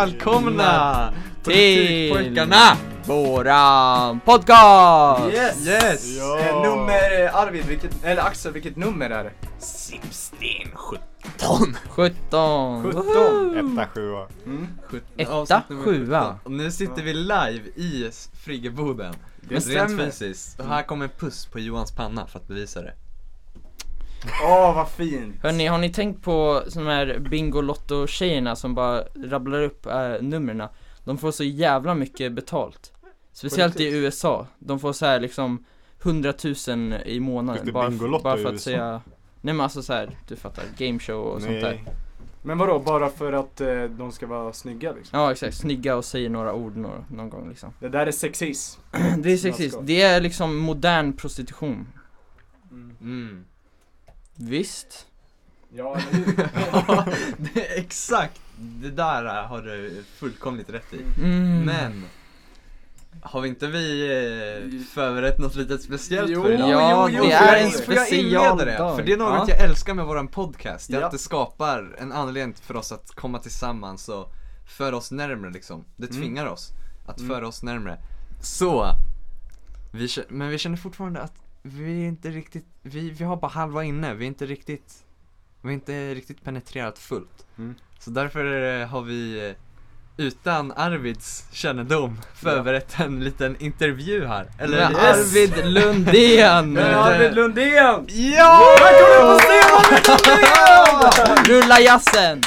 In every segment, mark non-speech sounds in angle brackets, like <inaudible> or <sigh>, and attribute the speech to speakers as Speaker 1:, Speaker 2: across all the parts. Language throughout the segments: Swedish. Speaker 1: välkomna till
Speaker 2: Politikpojkarna!
Speaker 1: våran podcast!
Speaker 3: Yes!
Speaker 2: Yes!
Speaker 3: Ja.
Speaker 2: Ja.
Speaker 3: Eh, nummer eh, Arvid, vilket, eller Axel, vilket nummer är det?
Speaker 1: 17
Speaker 3: 17.
Speaker 4: Etta, sjua.
Speaker 3: Mm.
Speaker 1: Etta,
Speaker 2: Avsnitt nummer
Speaker 1: sjua.
Speaker 2: 17. Och nu sitter vi live i s- friggeboden. Det
Speaker 3: Det
Speaker 2: rent
Speaker 3: stämmer.
Speaker 2: fysiskt. Och här kommer en puss på Johans panna för att bevisa det.
Speaker 3: Åh, vad fint.
Speaker 1: Hörni, har ni tänkt på såna här Bingolotto-tjejerna som bara rabblar upp äh, numren? De får så jävla mycket betalt Speciellt i USA, de får så här liksom 100 000 i
Speaker 4: Just
Speaker 1: månaden
Speaker 4: det,
Speaker 1: bara,
Speaker 4: Bingolotto
Speaker 1: bara
Speaker 4: i
Speaker 1: för att
Speaker 4: USA.
Speaker 1: säga Nej men alltså så här, du fattar, game show och sånt där
Speaker 4: Nej.
Speaker 3: Men vadå, bara för att eh, de ska vara snygga liksom?
Speaker 1: Ja exakt, snygga och säger några ord någon, någon gång liksom
Speaker 3: Det där är sexism.
Speaker 1: <clears throat> Det är sexism,
Speaker 3: Snaskigt.
Speaker 1: det är liksom modern prostitution
Speaker 3: Mm.
Speaker 2: Mm.
Speaker 1: Visst?
Speaker 3: Ja, eller hur?
Speaker 2: <laughs> <laughs> Ja, det är exakt. Det där eh, har du fullkomligt rätt i.
Speaker 1: Mm.
Speaker 2: Men. Har vi inte vi eh, förberett något litet speciellt
Speaker 3: Jo,
Speaker 2: för idag?
Speaker 1: Ja,
Speaker 3: jo, jo,
Speaker 1: det
Speaker 3: jo,
Speaker 1: är
Speaker 3: jo,
Speaker 1: en
Speaker 3: jo.
Speaker 2: Får jag inleda det?
Speaker 1: specialdag
Speaker 2: För det är något
Speaker 1: ja.
Speaker 2: jag älskar med våran podcast, det är
Speaker 3: Ja.
Speaker 2: att det skapar en anledning för oss att komma tillsammans och föra oss närmre liksom. Det
Speaker 3: Mm.
Speaker 2: tvingar oss att
Speaker 3: Mm.
Speaker 2: föra oss närmre. Så, vi, kä- men vi känner fortfarande att vi är inte riktigt, vi, vi har bara halva inne, vi är inte riktigt, vi har inte riktigt penetrerat fullt.
Speaker 4: Mm.
Speaker 2: Så därför eh, har vi eh, utan Arvids kännedom förberett en liten intervju här. Eller
Speaker 1: Med
Speaker 2: Yes!
Speaker 3: <laughs>
Speaker 1: Arvid Lundén!
Speaker 3: Men Arvid Lundén!
Speaker 2: Ja!
Speaker 3: Välkommen på scenen, Arvid
Speaker 1: <laughs>
Speaker 3: Lundén!
Speaker 1: Rulla jazzen!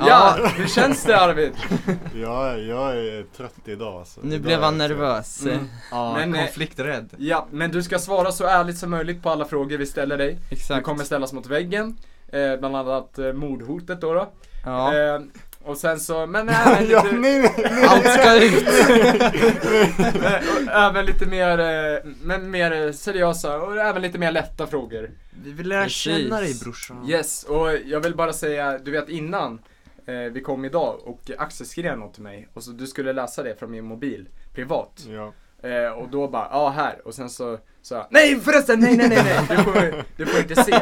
Speaker 3: Ja, hur känns det Arvid?
Speaker 4: Ja, jag är trött idag alltså.
Speaker 1: Nu
Speaker 4: Idag
Speaker 1: blev
Speaker 4: är
Speaker 1: han
Speaker 4: jag trött.
Speaker 1: nervös
Speaker 3: Mm.
Speaker 2: Ja,
Speaker 3: Men, eh,
Speaker 2: konflikträdd.
Speaker 3: Ja, men du ska svara så ärligt som möjligt på alla frågor vi ställer dig. Du
Speaker 1: Exakt
Speaker 3: kommer ställas mot väggen, eh, bland annat eh, mordhotet då. då.
Speaker 1: ja.
Speaker 3: Eh, och sen så, men eh,
Speaker 4: <laughs>
Speaker 3: även
Speaker 4: Ja,
Speaker 3: lite,
Speaker 4: nej, nej.
Speaker 1: Allt ska ut!
Speaker 3: <laughs> eh, och även lite mer, eh, men mer eh, seriösa och även lite mer lätta frågor.
Speaker 2: Vi vill lära
Speaker 1: Precis.
Speaker 2: känna dig brorsan.
Speaker 3: Yes, och jag vill bara säga, du vet innan eh, vi kom idag och Axel skrev något till mig och så du skulle läsa det från min mobil privat.
Speaker 4: <laughs> Ja.
Speaker 3: Eh, och då bara, ja här. Och sen så sa jag, nej förresten, nej nej nej, nej. Du, får, du får inte se.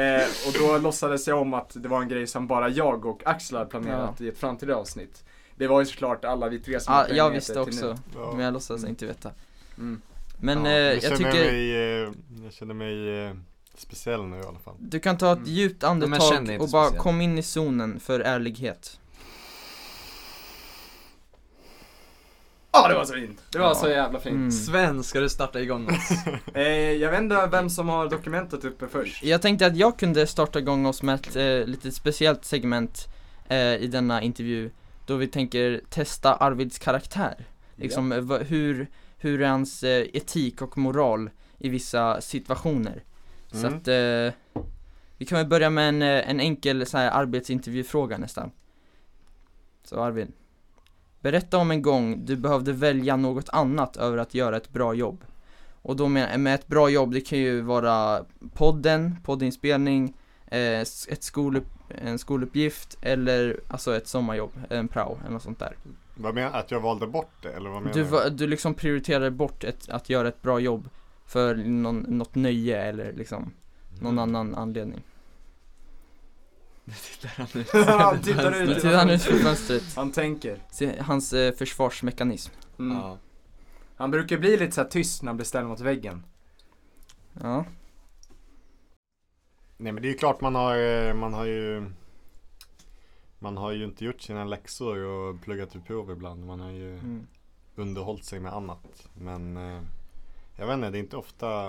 Speaker 3: Eh, och då låtsades jag om att det var en grej som bara jag och Axel hade planerat i ett framtida avsnitt. Det var ju såklart alla vi tre som
Speaker 1: Ja,
Speaker 3: hade
Speaker 1: jag
Speaker 3: planerat
Speaker 1: visste
Speaker 3: det till Mm.
Speaker 1: också,
Speaker 4: Ja.
Speaker 1: men jag låtsas inte veta
Speaker 3: nu. Mm.
Speaker 1: Men
Speaker 2: Ja,
Speaker 1: eh,
Speaker 4: Nu
Speaker 1: jag
Speaker 4: känner jag,
Speaker 1: tycker,
Speaker 4: mig, eh, jag känner mig eh, speciell nu i alla fall.
Speaker 1: du kan ta ett
Speaker 3: Mm.
Speaker 1: djupt
Speaker 2: men
Speaker 1: andetag
Speaker 2: känn dig inte
Speaker 1: och bara
Speaker 2: speciell.
Speaker 1: kom in i zonen för ärlighet
Speaker 3: Ja, det var så fint. Det var
Speaker 1: Ja.
Speaker 3: så jävla fint.
Speaker 1: Mm.
Speaker 2: Sven, ska du starta igång oss?
Speaker 3: Eh, jag vet inte vem som har dokumentet uppe först.
Speaker 1: Jag tänkte att jag kunde starta igång oss med ett eh, lite speciellt segment eh, i denna intervju Då vi tänker testa Arvids karaktär Liksom eh, vad- hur, hur är hans eh, etik och moral i vissa situationer Så
Speaker 4: Mm.
Speaker 1: att eh, vi kan väl börja med en, eh, en enkel så här, arbetsintervjufråga nästan Så Arvid Berätta om en gång du behövde välja något annat över att göra ett bra jobb och då med, med ett bra jobb, det kan ju vara podden, poddinspelning, eh, s- ett skolupp, en skoluppgift eller alltså ett sommarjobb, en prao eller något sånt där.
Speaker 4: Vad menar Att jag valde bort det eller vad menar
Speaker 1: Du,
Speaker 4: du?
Speaker 1: va- du liksom prioriterar bort ett, att göra ett bra jobb för någon, något nöje eller liksom
Speaker 4: Mm.
Speaker 1: någon annan anledning.
Speaker 3: Han tittar
Speaker 1: Nu
Speaker 3: ut.
Speaker 1: tittar han ut för fönstret,
Speaker 3: Han tänker.
Speaker 1: Se, hans eh, försvarsmekanism.
Speaker 3: Mm.
Speaker 2: Ja.
Speaker 3: Han brukar bli lite så här tyst när han blir ställd mot väggen.
Speaker 1: Ja,
Speaker 4: Nej men det är ju klart man har, eh, man har ju Man har ju inte gjort sina läxor och pluggat till prov ibland. Man har ju
Speaker 1: mm.
Speaker 4: underhållit sig med annat. Men eh, jag vet inte, det är inte ofta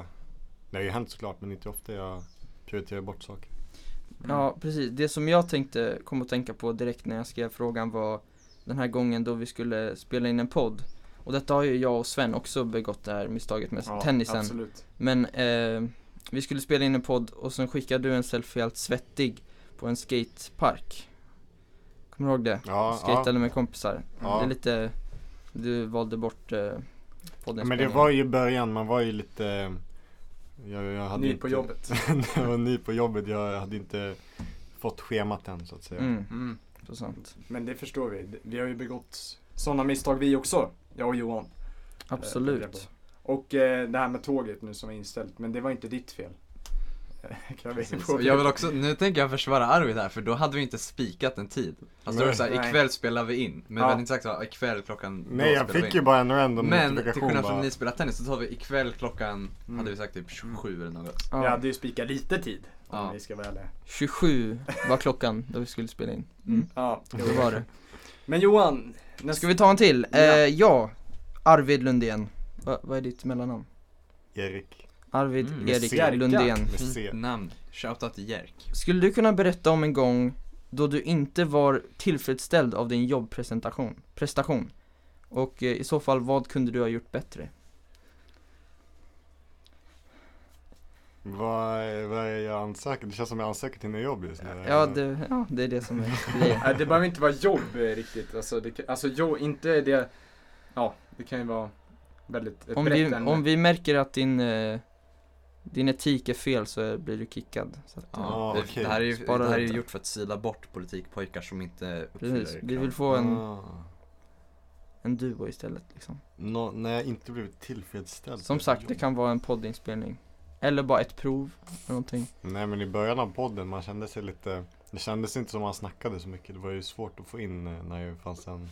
Speaker 4: Det har ju hänt såklart men inte ofta jag prioriterar bort saker.
Speaker 1: ja precis. Det som jag tänkte, kom att tänka på direkt när jag skrev frågan var den här gången då vi skulle spela in en podd. Och detta har ju jag och Sven också begått det här misstaget med
Speaker 3: Ja,
Speaker 1: Alltså, tennisen.
Speaker 3: Absolut.
Speaker 1: Men eh, vi skulle spela in en podd och sen skickade du en selfie helt svettig på en skatepark. Kommer du ihåg det?
Speaker 4: Ja, ja.
Speaker 1: Skatade med kompisar.
Speaker 4: Ja.
Speaker 1: Det är lite, du valde bort eh,
Speaker 4: Ja,
Speaker 1: podden.
Speaker 4: Men det var ju i början, man var ju lite jag, jag hade
Speaker 3: Ny
Speaker 4: inte,
Speaker 3: på jobbet.
Speaker 4: <laughs> jag var ny på jobbet, jag hade inte fått schemat än så att säga.
Speaker 1: Mm,
Speaker 3: Mm.
Speaker 1: så sant.
Speaker 3: Men det förstår vi. Vi har ju begått sådana misstag vi också. Eh, Jag och Johan.
Speaker 1: Absolut.
Speaker 3: Och eh, det här med tåget nu som är inställt, men det var inte ditt fel. Eh, kan vi
Speaker 2: Precis. Och
Speaker 3: påpeka.
Speaker 2: Jag vill också, nu tänker jag försvara Arvid här för då hade vi inte spikat en tid. Alltså då var det såhär,
Speaker 3: Nej.
Speaker 2: ikväll spelar vi in. Men
Speaker 3: Ja.
Speaker 2: vi hade inte sagt såhär, ikväll klockan då
Speaker 4: Nej jag
Speaker 2: spelar vi
Speaker 4: fick
Speaker 2: in.
Speaker 4: ju bara en random
Speaker 2: Men till
Speaker 4: notifikation
Speaker 2: skillnad från
Speaker 4: bara.
Speaker 2: ni spelar tennis så tar vi ikväll klockan,
Speaker 3: Mm.
Speaker 2: hade vi sagt typ 27 eller något.
Speaker 1: Ja.
Speaker 3: Jag hade ju spikat lite tid, om
Speaker 2: Ja.
Speaker 3: vi ska vara ärliga.
Speaker 1: 27 var klockan då vi skulle spela in.
Speaker 3: Ja, jo.
Speaker 1: Det var det.
Speaker 3: Men Johan, nästa...
Speaker 1: Ska vi ta en till?
Speaker 3: Ja.
Speaker 1: Ja, eh, ja. Arvid Lundén. Va, vad är ditt mellannamn?
Speaker 4: Erik.
Speaker 1: Arvid
Speaker 2: Mm,
Speaker 1: Erik
Speaker 4: Jerka.
Speaker 1: Lundén.
Speaker 4: Med C.
Speaker 1: <laughs>
Speaker 2: Fint namn. Shoutout till Jerk.
Speaker 1: Skulle du kunna berätta om en gång då du inte var tillfredsställd av din jobbpresentation? Prestation? Och eh, i så fall, vad kunde du ha gjort bättre?
Speaker 4: Vad, är- vad är jag ansöker? Det känns som jag ansöker till nya jobb just nu.
Speaker 1: Ja, det, ja, det är det som är
Speaker 4: <laughs>
Speaker 1: grejen.
Speaker 3: Nej, det behöver inte vara jobb eh, riktigt. Alltså, det, kan- alltså jo, inte det... Ja, det kan ju vara väldigt ett
Speaker 1: Om
Speaker 3: brett
Speaker 1: vi,
Speaker 3: ämne.
Speaker 1: om vi märker att din, eh, din etik är fel så är- blir du kickad. Så att, eh,
Speaker 4: Ja,
Speaker 2: det,
Speaker 4: okej.
Speaker 2: det här är ju,
Speaker 1: Spara
Speaker 2: det här är ju
Speaker 1: lite.
Speaker 2: gjort för att sila bort politikpojkar som inte uppfyller
Speaker 1: precis, vi vill
Speaker 2: kraven.
Speaker 1: få en,
Speaker 4: Ah.
Speaker 1: en duo istället liksom.
Speaker 4: Nå, när jag inte blivit tillfredsställd.
Speaker 1: Som
Speaker 4: med
Speaker 1: sagt, det
Speaker 4: jobb.
Speaker 1: kan vara en poddinspelning. Eller bara ett prov, eller någonting.
Speaker 4: Nej men i början av podden, man kände sig lite Det kändes inte som man snackade så mycket Det var ju svårt att få in eh, när det fanns en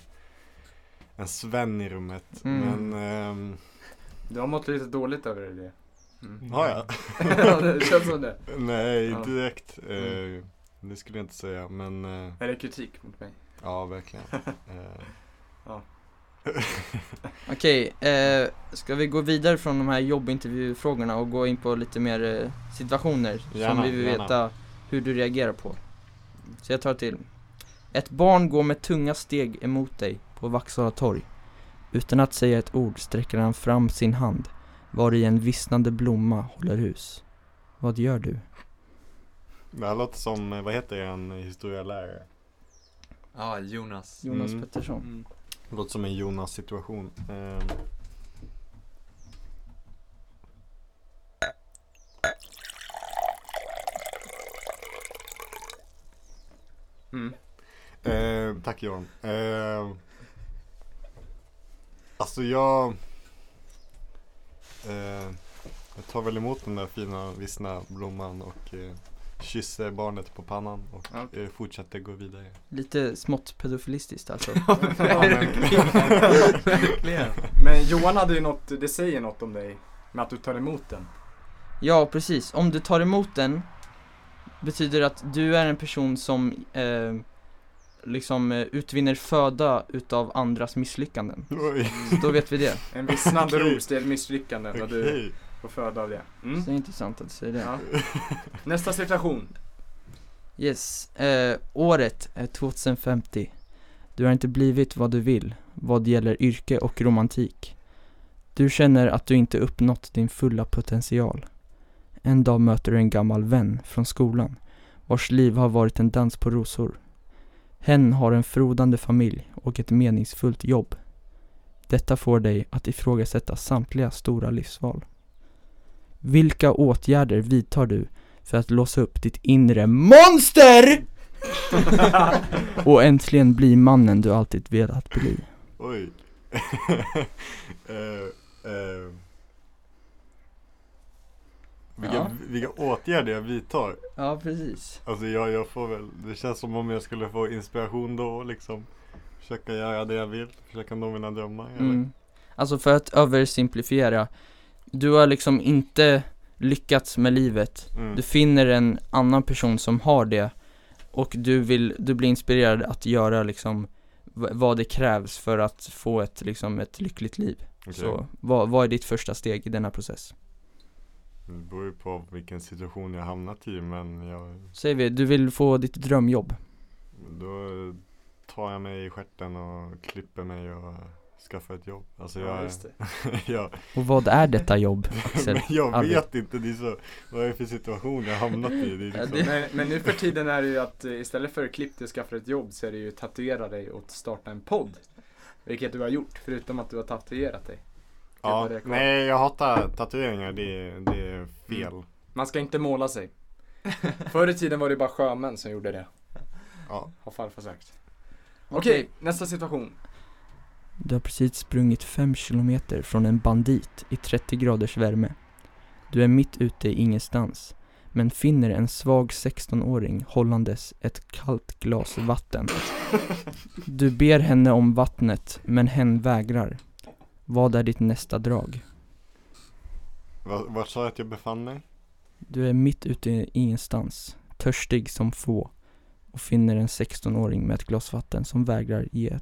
Speaker 4: En Sven i rummet
Speaker 1: Mm.
Speaker 4: Men, ehm,
Speaker 3: Du har mått lite dåligt över det. Mm.
Speaker 4: har jag?
Speaker 3: <laughs> ja, det känns som det.
Speaker 4: Nej
Speaker 3: Ja. Mm.
Speaker 4: inte direkt Eh, Det skulle jag inte säga men eh,
Speaker 3: Är det kritik mot mig?
Speaker 4: Ja verkligen Eh,
Speaker 1: Okej, eh, ska vi gå vidare från de här jobbintervjufrågorna och gå in på lite mer eh, situationer
Speaker 4: Gärna,
Speaker 1: som vi vill
Speaker 4: gärna.
Speaker 1: veta hur du reagerar på? Så jag tar till. Ett barn går med tunga steg emot dig på Vaxhalla torg. Utan att säga ett ord sträcker han fram sin hand, var i en vissnande blomma håller hus. Vad gör du?
Speaker 4: Det här låter som, eh, vad heter en historielärare?
Speaker 2: Ja, Jonas.
Speaker 1: Jonas
Speaker 4: Mm.
Speaker 1: Pettersson.
Speaker 3: <laughs>
Speaker 4: Det låter som en Jonas situation Ehm,
Speaker 3: Mm.
Speaker 4: Eh, tack Johan. Eh, alltså jag... Eh, jag tar väl emot den där fina vissna blomman och eh, kysser barnet på pannan och
Speaker 3: Ja.
Speaker 4: eh, fortsätter gå vidare.
Speaker 1: Lite smått pedofilistiskt alltså.
Speaker 2: Verkligen.
Speaker 3: Men Johan hade ju något, det säger något om dig. Med att du tar emot den.
Speaker 1: Ja, precis. Om du tar emot den betyder att du är en person som eh, liksom eh, utvinner föda utav andras misslyckanden.
Speaker 4: Oj,
Speaker 1: Så då vet vi det.
Speaker 3: En vissnande
Speaker 4: Okej.
Speaker 3: ros, det är ett misslyckande vad du
Speaker 4: okej.
Speaker 3: får föda av det. Mm.
Speaker 1: Så det är intressant att du säger det.
Speaker 3: Ja. Nästa situation.
Speaker 1: Yes. Eh, året är 2050. Du har inte blivit vad du vill vad gäller yrke och romantik. Du känner att du inte uppnått din fulla potential. En dag möter du en gammal vän från skolan vars liv har varit en dans på rosor. Hen har en frodande familj och ett meningsfullt jobb. Detta får dig att ifrågasätta samtliga stora livsval. Vilka åtgärder vidtar du för att låsa upp ditt inre monster och äntligen bli mannen du alltid velat bli.
Speaker 4: Oj. <laughs> eh, eh, vilka,
Speaker 1: Ja.
Speaker 4: vilka åtgärder jag vidtar.
Speaker 1: Ja, precis.
Speaker 4: Alltså jag, jag får väl, det känns som om jag skulle få inspiration då och liksom Försöka göra det jag vill, försöka nå mina drömmar eller?
Speaker 1: Mm. Alltså för att översimplifiera, du har liksom inte lyckats med livet.
Speaker 4: Mm.
Speaker 1: Du finner en annan person som har det och du vill, du blir inspirerad att göra liksom v- vad det krävs för att få ett, liksom ett lyckligt liv.
Speaker 4: Okej.
Speaker 1: Så vad, vad är ditt första steg i denna process?
Speaker 4: Det beror ju på vilken situation jag hamnat i men jag,
Speaker 1: Säger vi, du vill få ditt drömjobb.
Speaker 4: då tar jag mig i stjärten och klipper mig och skaffar ett jobb. Alltså
Speaker 3: Ja,
Speaker 4: jag,
Speaker 3: just det.
Speaker 4: jag,
Speaker 1: Och vad är detta <laughs> jobb, Axel?
Speaker 4: men jag
Speaker 1: Arvid.
Speaker 4: vet inte, det är så, vad är det för situation jag hamnat i? Det är
Speaker 1: Ja,
Speaker 4: liksom,
Speaker 1: det-
Speaker 3: Men, men nu för tiden är det ju att eh, istället för klipp dig och skaffa ett jobb så är det ju tatuera dig och starta en podd. Vilket du har gjort, förutom att du har tatuerat dig.
Speaker 4: ja,
Speaker 3: vad det är kvar.
Speaker 4: nej jag hatar tatueringar, det, är- det är fel.
Speaker 3: Man ska inte måla sig. Förr i tiden var det bara sjömän som gjorde det,
Speaker 4: Ja.
Speaker 3: har farfar sagt. Okej,
Speaker 1: Okej.
Speaker 3: nästa situation.
Speaker 1: Du har precis sprungit 5 kilometer från en bandit i 30 graders värme. Du är mitt ute i ingenstans, men finner en svag 16-åring hållandes ett kallt glas vatten. Du ber henne om vattnet, men hen vägrar. Vad är ditt nästa drag?
Speaker 4: Vart var sa jag att jag befann mig?
Speaker 1: Du är mitt ute i ingenstans, törstig som få och finner en 16-åring med ett glas vatten som vägrar ge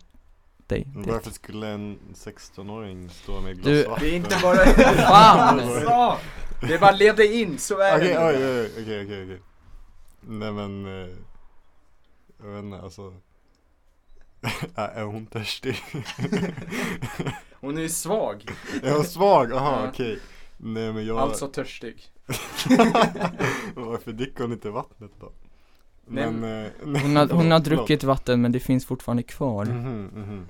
Speaker 1: dig det.
Speaker 4: Varför skulle en 16-åring stå med ett
Speaker 1: Du-
Speaker 4: glas vatten?
Speaker 3: Det är inte bara...
Speaker 1: <laughs> Fan!
Speaker 3: Alltså, det är bara lev dig in, så är
Speaker 4: Okej,
Speaker 3: det.
Speaker 4: oj, oj, oj, okej, okej, okej. Nej men, eh, jag vet inte, alltså. <laughs> Ä- är hon törstig? <laughs>
Speaker 3: Hon är ju svag,
Speaker 4: är hon svag? Aha,
Speaker 3: Ja.
Speaker 4: okej. Nej men jag...
Speaker 3: alltså törstig.
Speaker 4: <laughs> Varför dricker hon inte vattnet då?
Speaker 3: Nej,
Speaker 4: Men, eh, nej,
Speaker 1: Hon har, hon har
Speaker 4: förlåt, förlåt.
Speaker 1: druckit vatten men det finns fortfarande kvar.
Speaker 4: Mhm, mhm.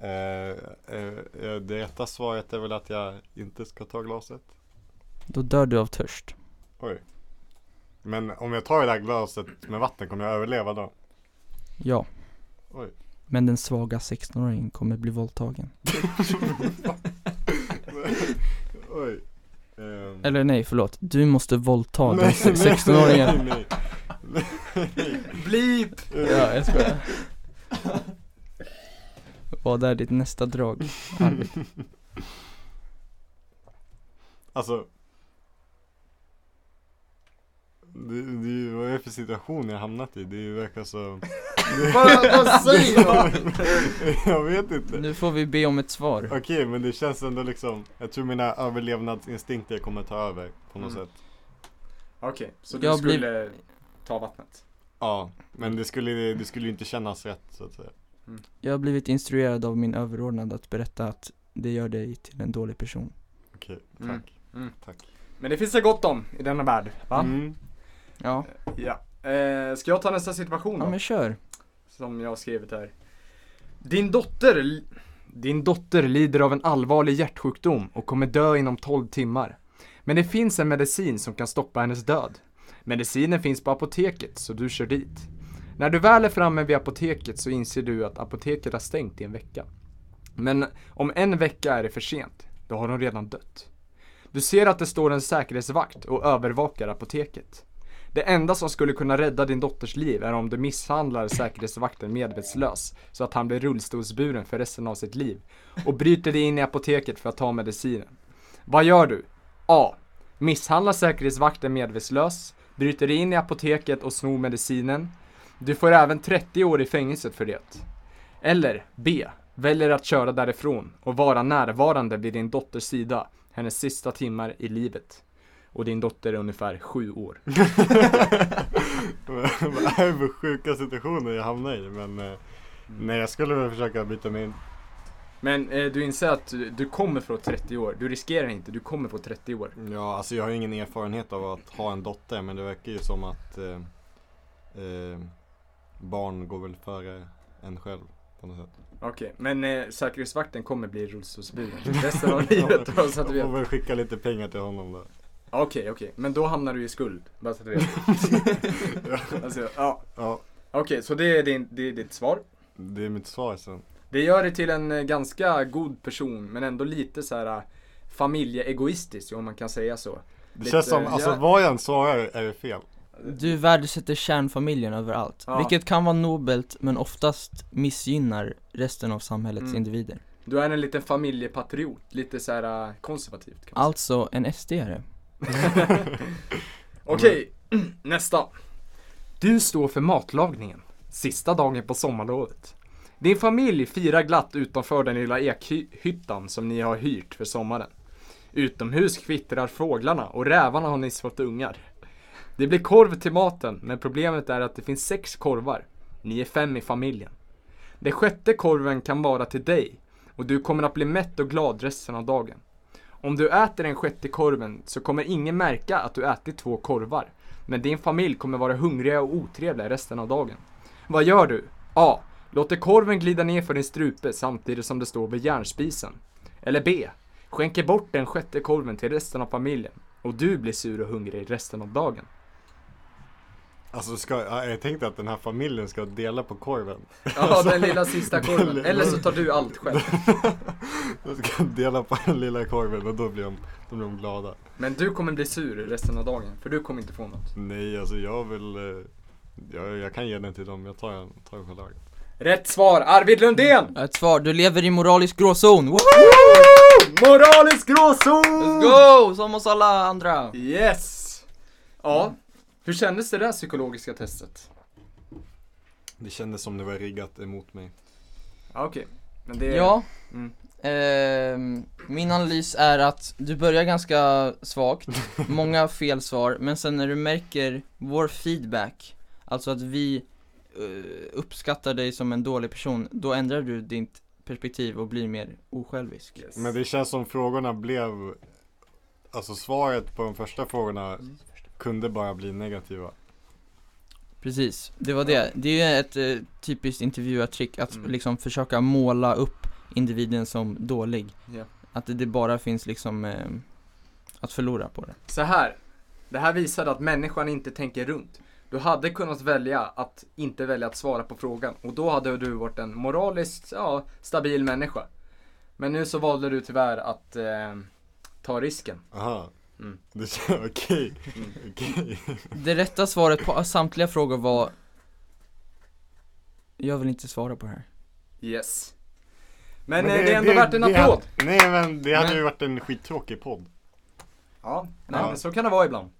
Speaker 4: Eh, eh, eh, det rätta svaret är väl att jag inte ska ta glaset.
Speaker 1: Då dör du av törst.
Speaker 4: Oj. Men om jag tar det här glaset med vatten, kommer jag överleva då? <laughs>
Speaker 1: Ja.
Speaker 4: Oj. Mm.
Speaker 1: Men den svaga 16-åringen kommer bli våldtagen.
Speaker 4: Oj. Ehm.
Speaker 1: Eller nej, förlåt. Du måste våldta den <laughs>
Speaker 4: Nej, nej,
Speaker 1: 16-åringen.
Speaker 4: Nej, nej, nej.
Speaker 3: Blip!
Speaker 1: Ja, jag skojar. Vad är ditt nästa drag?
Speaker 4: <laughs>
Speaker 1: Arvid?
Speaker 4: Alltså. Det, det är ju, vad är det för situation jag hamnat i? Det är ju verkar så...
Speaker 3: <laughs> Vad, vad säger man?
Speaker 4: <laughs> jag vet inte.
Speaker 1: Nu får vi be om ett svar.
Speaker 4: Okej, men det känns ändå liksom, jag tror mina överlevnadsinstinkter kommer ta över på något
Speaker 3: Mm.
Speaker 4: sätt.
Speaker 3: Okej, så du
Speaker 1: Jag blir-
Speaker 3: skulle ta vattnet?
Speaker 4: Ja, men det skulle, det skulle ju inte kännas rätt så att säga.
Speaker 1: Jag har blivit instruerad av min överordnad att berätta att det gör dig till en dålig person.
Speaker 4: Okej, tack.
Speaker 3: Mm. Mm.
Speaker 4: Tack.
Speaker 3: Men det finns det gott om i denna värld, va? <laughs>
Speaker 4: Mm. <laughs>
Speaker 1: Ja,
Speaker 3: Ja. Eh, ska jag ta nästa situation då?
Speaker 1: ja men kör.
Speaker 3: Som jag har skrivit här. Din dotter, din dotter lider av en allvarlig hjärtsjukdom och kommer dö inom 12 timmar. Men det finns en medicin som kan stoppa hennes död. Medicinen finns på apoteket, så du kör dit. När du väl är framme vid apoteket så inser du att apoteket har stängt i en vecka. Men om en vecka är det för sent. Då har hon redan dött. Du ser att det står en säkerhetsvakt och övervakar apoteket. Det enda som skulle kunna rädda din dotters liv är om du misshandlar säkerhetsvakten medvetslös så att han blir rullstolsburen för resten av sitt liv och bryter dig in i apoteket för att ta medicinen. Vad gör du? A. Misshandlar säkerhetsvakten medvetslös, bryter dig in i apoteket och snor medicinen. Du får även 30 år i fängelset för det. Eller B. Väljer att köra därifrån och vara närvarande vid din dotters sida hennes sista timmar i livet. Och din dotter är ungefär sju år.
Speaker 4: Vad är det för sjuka situationer jag hamnar i? Men eh,
Speaker 3: Mm.
Speaker 4: nej, jag skulle väl försöka byta mig in.
Speaker 3: Men eh, du inser att du, du kommer få 30 år. Du riskerar inte, du kommer få 30 år.
Speaker 4: Ja, alltså jag har ingen erfarenhet av att ha en dotter, men det verkar ju som att eh, eh, barn går väl före en själv på något sätt.
Speaker 3: Okej, men eh, säkerhetsvakten kommer bli rullstolsburen
Speaker 4: <laughs>
Speaker 3: resten av livet. bara så att
Speaker 4: Jag får
Speaker 3: du vet. Okej,
Speaker 4: väl skicka lite pengar till honom
Speaker 3: <laughs>
Speaker 4: då.
Speaker 3: okej. Men då hamnar du i skuld. Bara så att du vet. Alltså, ja.
Speaker 4: Ja,
Speaker 3: Okej, så det är, din, det är ditt svar.
Speaker 4: det är mitt svar sen.
Speaker 3: Det gör dig till en eh, ganska god person, men ändå lite så här eh, familjeegoistisk, om man kan säga så.
Speaker 4: Det
Speaker 3: Lite-
Speaker 4: känns som, alltså
Speaker 3: ja.
Speaker 4: vad jag än svarar är det fel.
Speaker 1: Du värdesätter kärnfamiljen överallt,
Speaker 3: Ja.
Speaker 1: vilket kan vara nobelt men oftast missgynnar resten av samhällets
Speaker 3: Mm.
Speaker 1: individer.
Speaker 3: Du är en liten familjepatriot, lite så här eh, konservativt. Kan man säga.
Speaker 1: Alltså en SD-are.
Speaker 3: Okej, <clears throat> nästa. Du står för matlagningen, sista dagen på sommarlovet. Din familj firar glatt utanför den lilla ekhyttan som ni har hyrt för sommaren. Utomhus kvittrar fåglarna och rävarna har nyss fått ungar. Det blir korv till maten, men problemet är att det finns sex korvar. Ni är fem i familjen. Den sjätte korven kan vara till dig och du kommer att bli mätt och glad resten av dagen. Om du äter den sjätte korven så kommer ingen märka att du ätit två korvar. Men din familj kommer vara hungriga och otrevliga resten av dagen. Vad gör du? A. Låter korven glida ner för din strupe samtidigt som det står vid järnspisen. Eller B. Skänker bort den sjätte korven till resten av familjen och du blir sur och hungrig resten av dagen.
Speaker 4: Alltså ska, ja, jag tänkte att den här familjen ska dela på korven.
Speaker 3: Ja,
Speaker 1: Alltså,
Speaker 3: den lilla sista korven.
Speaker 4: Den-
Speaker 3: Eller så tar du
Speaker 1: <laughs>
Speaker 3: allt själv.
Speaker 4: De ska <laughs> dela på den lilla korven och då blir de, då blir de glada.
Speaker 3: Men du kommer bli sur resten av dagen, för du kommer inte få något.
Speaker 4: Nej, alltså jag vill... eh, Jag, jag kan ge den till dem, jag tar den tar den själv.
Speaker 3: Rätt svar, Arvid Lundén!
Speaker 1: Ett svar, du lever i moralisk gråzon! Woho!
Speaker 3: Moralisk gråzon!
Speaker 1: Let's go! Som oss alla andra!
Speaker 3: Yes! Ja, Mm. hur kändes det där psykologiska testet?
Speaker 4: Det kändes som det var riggat emot mig.
Speaker 3: Ja, okej. Men det...
Speaker 1: Ja,
Speaker 3: Mm.
Speaker 1: ehm, min analys är att du börjar ganska
Speaker 3: <laughs>
Speaker 1: svagt, många fel svar, men sen när du märker vår feedback, alltså att vi eh, uppskattar dig som en dålig person, då ändrar du ditt perspektiv och blir mer osjälvisk.
Speaker 3: Yes.
Speaker 4: Men det känns som frågorna blev... Alltså svaret på de första frågorna kunde bara bli negativa.
Speaker 1: Precis, det var det. Det är ju ett eh, typiskt intervjuartrick att
Speaker 3: Mm.
Speaker 1: liksom försöka måla upp individen som dålig.
Speaker 3: Ja.
Speaker 1: Att det, det bara finns liksom eh, att förlora på det.
Speaker 3: Så här. Det här visade att människan inte tänker runt. Du hade kunnat välja att inte välja att svara på frågan och då hade du varit en moraliskt ja, stabil människa. Men nu så valde du tyvärr att eh, ta risken.
Speaker 4: Aha.
Speaker 3: Mm.
Speaker 4: Det känns... <laughs> Okej.
Speaker 3: Mm.
Speaker 4: Okej.
Speaker 1: Det rätta svaret på samtliga frågor var Jag vill inte svara på det här.
Speaker 3: Yes. Men, eh, det, är ändå värt en
Speaker 4: det
Speaker 3: applåd.
Speaker 4: hade- nej men det hade
Speaker 1: Men-
Speaker 4: ju varit en skittråkig podd.
Speaker 3: Ja, nej,
Speaker 4: Ja.
Speaker 3: men så kan det vara ibland.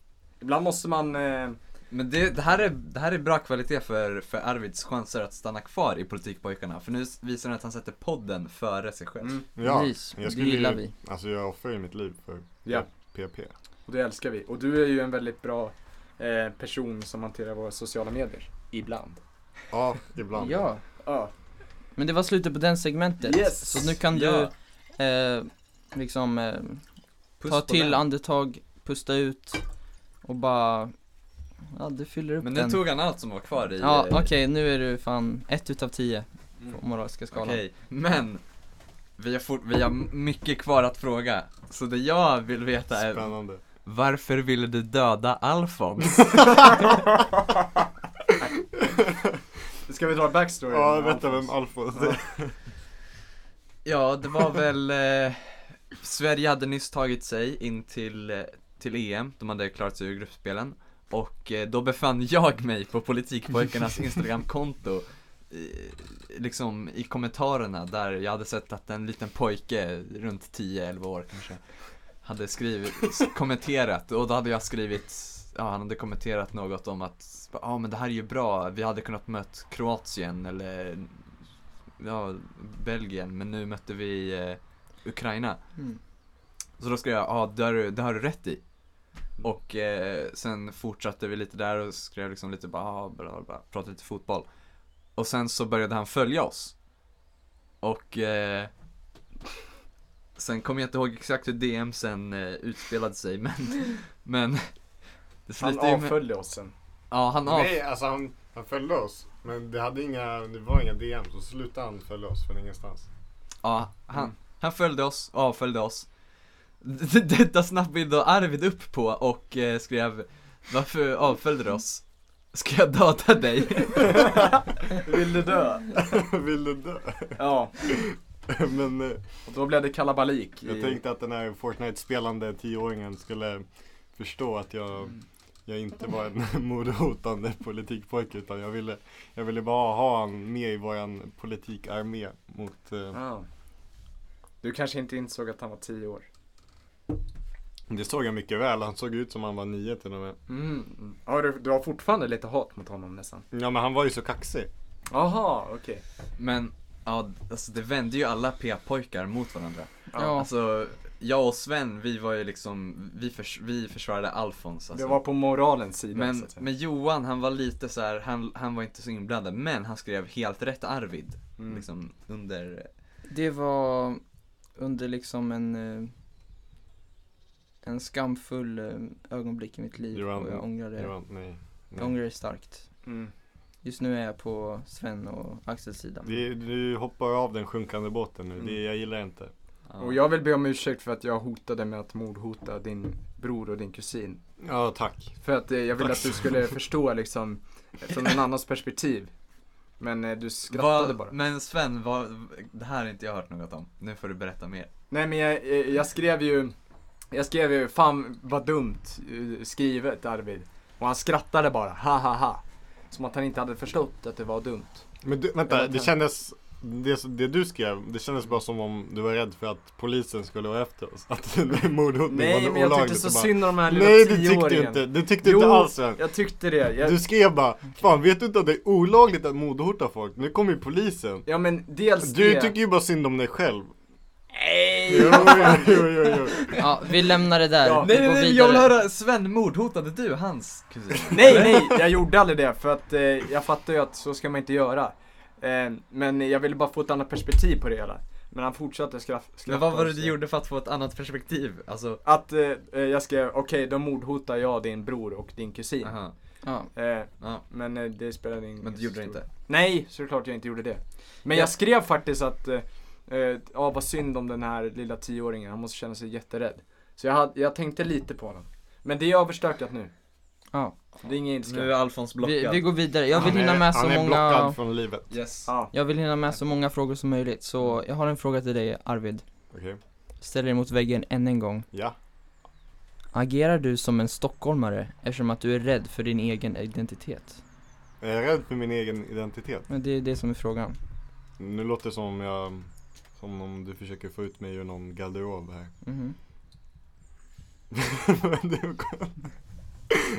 Speaker 3: Ibland måste man... Eh,
Speaker 2: Men det, det, här är, det här är bra kvalitet för, för Arvids chanser att stanna kvar i Politikpojkarna. För nu s- visar han att han sätter podden före sig själv.
Speaker 3: mm,
Speaker 4: Ja,
Speaker 1: Precis,
Speaker 4: jag
Speaker 1: det
Speaker 4: skulle-
Speaker 1: gillar vi.
Speaker 4: alltså jag offrar ju mitt liv för
Speaker 3: ja.
Speaker 4: PP.
Speaker 3: Och det älskar vi. Och du är ju en väldigt bra eh, person som hanterar våra sociala medier. Ibland.
Speaker 4: Ja, ibland.
Speaker 1: Ja.
Speaker 3: Ja.
Speaker 1: Men det var slutet på den segmentet.
Speaker 3: Yes.
Speaker 1: Så nu kan du eh, liksom eh,
Speaker 2: Puss
Speaker 1: ta
Speaker 2: på
Speaker 1: till
Speaker 2: den.
Speaker 1: andetag, pusta ut och bara Ja, du fyller upp
Speaker 2: Men
Speaker 1: den.
Speaker 2: nu tog han allt som var kvar i...
Speaker 1: Ja,
Speaker 2: eh,
Speaker 1: okej, nu är du fan ett utav tio på moraliska skalan.
Speaker 2: Mm. Okej, men vi har, fort, vi har mycket kvar att fråga. Så det jag vill veta är,
Speaker 4: Spännande.
Speaker 2: varför ville du döda Alfons?
Speaker 3: <laughs> Ska vi dra backstory?
Speaker 4: Ja, vänta vem Alfons är.
Speaker 2: <laughs> ja, det var väl, eh, Sverige hade nyss tagit sig in till, eh, till EM, de hade klarat sig ur gruppspelen. Och eh, då befann jag mig på <laughs> Politikpojkarnas Instagramkonto eh, Liksom i kommentarerna där jag hade sett att en liten pojke runt 10-11 år kanske Hade skrivit, s- kommenterat och då hade jag skrivit Ja han hade kommenterat något om att Ja men det här är ju bra, vi hade kunnat mött Kroatien eller Ja, Belgien men nu mötte vi eh, Ukraina
Speaker 1: Mm.
Speaker 2: så då skrev jag, ja det, har du- det har du rätt i. Och eh, sen fortsatte vi lite där och skrev liksom lite bara, ah, bla, bla, bla, pratade lite fotboll. Och sen så började han följa oss. Och eh, sen kommer jag inte ihåg exakt hur DM sen eh, utspelade sig men, men det
Speaker 3: Han
Speaker 2: slutade ju med,
Speaker 3: avföljde oss sen.
Speaker 2: ja han av,
Speaker 4: <laughs> Nej, alltså han, han följde oss. Men det, hade inga, det var inga DM, så slutade han följa oss från ingenstans.
Speaker 2: ja han,
Speaker 3: Mm.
Speaker 2: han följde oss, avföljde oss. <laughs> D- d- Detta snabbbildade Arvid upp på och eh, skrev, varför avföljde du oss? Ska jag döda dig? <laughs>
Speaker 3: <laughs> <laughs> Vill du dö?
Speaker 4: <laughs> Vill du dö?
Speaker 3: Ja.
Speaker 4: Men eh,
Speaker 3: Och då blev det kalabalik.
Speaker 4: jag tänkte att den här Fortnite-spelande tioåringen skulle förstå att jag, jag inte var en <laughs> mordhotande politikpojke utan jag ville, jag ville bara ha han med i våran politikarmé mot eh,
Speaker 3: Ja. Du kanske inte insåg att han var 10 år?
Speaker 4: Det såg jag mycket väl, han såg ut som han var nio till och med.
Speaker 3: Mm. Ja, du, du har fortfarande lite hat mot honom nästan?
Speaker 4: Ja men han var ju så kaxig.
Speaker 3: Aha, okej.
Speaker 2: Men, ja, alltså det vände ju alla p-pojkar mot varandra.
Speaker 1: Ja.
Speaker 2: Alltså, jag och Sven, vi var ju liksom, vi, förs- vi försvarade Alfons alltså.
Speaker 3: Det var på moralens sida så
Speaker 2: men,
Speaker 3: att säga.
Speaker 2: men Johan, han var lite så här, han, han var inte så inblandad, men han skrev helt rätt Arvid.
Speaker 3: Mm.
Speaker 2: Liksom under,
Speaker 1: Det var under liksom en eh, en skamfull eh, ögonblick i mitt liv
Speaker 4: Johan,
Speaker 1: och jag ångrar det.
Speaker 4: Det var, nej.
Speaker 1: Jag
Speaker 4: nej.
Speaker 1: ångrar det starkt.
Speaker 3: Mm.
Speaker 1: Just nu är jag på Sven och Axels sida.
Speaker 4: Det, du hoppar av den sjunkande båten nu,
Speaker 3: Mm.
Speaker 4: det, jag gillar inte.
Speaker 2: ja.
Speaker 3: Och jag vill be om ursäkt för att jag hotade med att mordhota din bror och din kusin.
Speaker 4: Ja, tack.
Speaker 3: För att eh, jag ville
Speaker 4: Tack.
Speaker 3: att du skulle förstå liksom från en annans perspektiv. Men eh, du skrattade
Speaker 2: Vad-
Speaker 3: bara.
Speaker 2: Men Sven, vad, det här har inte jag hört något om. Nu får du berätta mer.
Speaker 3: Nej men jag, eh, jag skrev ju, jag skrev ju fan vad dumt eh, skrivet Arvid. Och han skrattade bara, ha ha ha. Som att han inte hade förstått att det var dumt.
Speaker 4: Men du,
Speaker 3: Jag
Speaker 4: vänta,
Speaker 3: var
Speaker 4: det
Speaker 3: tack.
Speaker 4: kändes, det, det du skrev, det kändes bara som om du var rädd för att polisen skulle vara efter oss. Att <laughs> mordhotning var
Speaker 3: Nej men jag tyckte
Speaker 4: olagligt.
Speaker 3: så
Speaker 4: och bara,
Speaker 3: synd om den här lilla
Speaker 4: Nej, det tyckte du
Speaker 3: tioåringen.
Speaker 4: inte. Det tyckte
Speaker 3: Jo.
Speaker 4: inte alls Sven.
Speaker 3: Jag tyckte det. Jag,
Speaker 4: Du skrev bara, fan vet du inte att det är olagligt att mordhota folk? Nu kommer ju polisen.
Speaker 3: Ja men dels
Speaker 4: Du
Speaker 3: det.
Speaker 4: tycker ju bara synd om dig själv.
Speaker 3: Nej!
Speaker 4: Jo, jo, jo, jo.
Speaker 1: Ja, vi lämnar det där.
Speaker 3: Ja.
Speaker 1: Vi
Speaker 2: Nej, nej,
Speaker 1: går
Speaker 2: nej, jag
Speaker 1: vidare.
Speaker 2: vill höra, Sven mordhotade du hans kusin? <laughs>
Speaker 3: Nej nej, jag gjorde aldrig det för att eh, jag fattar ju att så ska man inte göra. Eh, men jag ville bara få ett annat perspektiv på det hela. Men han fortsatte skraff- skratta.
Speaker 2: Men vad var det
Speaker 3: och
Speaker 2: du
Speaker 3: så.
Speaker 2: gjorde för att få ett annat perspektiv? Alltså,
Speaker 3: Att eh, eh, jag skrev, okej då mordhotar jag din bror och din kusin.
Speaker 2: aha,
Speaker 1: Ja.
Speaker 3: Eh,
Speaker 2: ja,
Speaker 3: men eh, det spelade ingen
Speaker 2: men du gjorde det inte.
Speaker 3: Nej, såklart jag inte gjorde det. Men
Speaker 2: Ja.
Speaker 3: jag skrev faktiskt att, eh, eh, ja vad synd om den här lilla tioåringen, han måste känna sig jätterädd. Så jag, hade, jag tänkte lite på honom. Men det är överstökat nu.
Speaker 1: Ja.
Speaker 3: Det är ingen
Speaker 2: Nu är
Speaker 3: ilska.
Speaker 2: Alfons
Speaker 1: Vi,
Speaker 2: blockad.
Speaker 1: vi går vidare. Jag vill
Speaker 4: Han är-
Speaker 1: hinna med så
Speaker 4: Han är blockad
Speaker 1: många
Speaker 4: från livet.
Speaker 2: Yes.
Speaker 3: Ja.
Speaker 1: Jag vill hinna med så många frågor som möjligt, så jag har en fråga till dig Arvid.
Speaker 4: Okej,
Speaker 1: Ställer dig mot väggen än en gång.
Speaker 4: ja.
Speaker 1: Agerar du som en stockholmare eftersom att du är rädd för din egen identitet?
Speaker 4: Jag är rädd för min egen identitet.
Speaker 1: Men det är det som är frågan.
Speaker 4: Nu låter det som jag, som om du försöker få ut mig ur någon garderob här.
Speaker 1: Mhm.
Speaker 4: Du kom-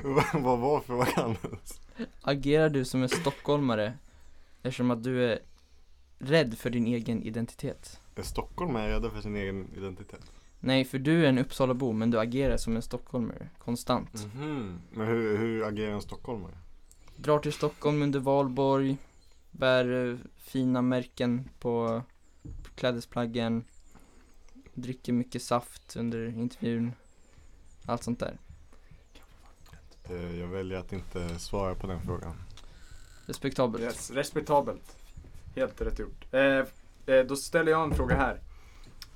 Speaker 4: Vad- Vad var frågan?
Speaker 1: Agerar du som en stockholmare eftersom att du är rädd för din egen identitet?
Speaker 4: Är Stockholm är rädda för sin egen identitet?
Speaker 1: Nej, för du är en Uppsalabo men du agerar som en stockholmare konstant.
Speaker 3: Mm.
Speaker 4: Men hur, hur agerar en stockholmare?
Speaker 1: Drar till Stockholm under valborg, bär eh, fina märken på klädesplaggen, dricker mycket saft under intervjun, allt sånt där.
Speaker 4: Eh, Jag väljer att inte svara på den frågan.
Speaker 1: Respektabelt.
Speaker 3: Yes, respektabelt. Helt rätt gjort. Eh, eh, då ställer jag en fråga här.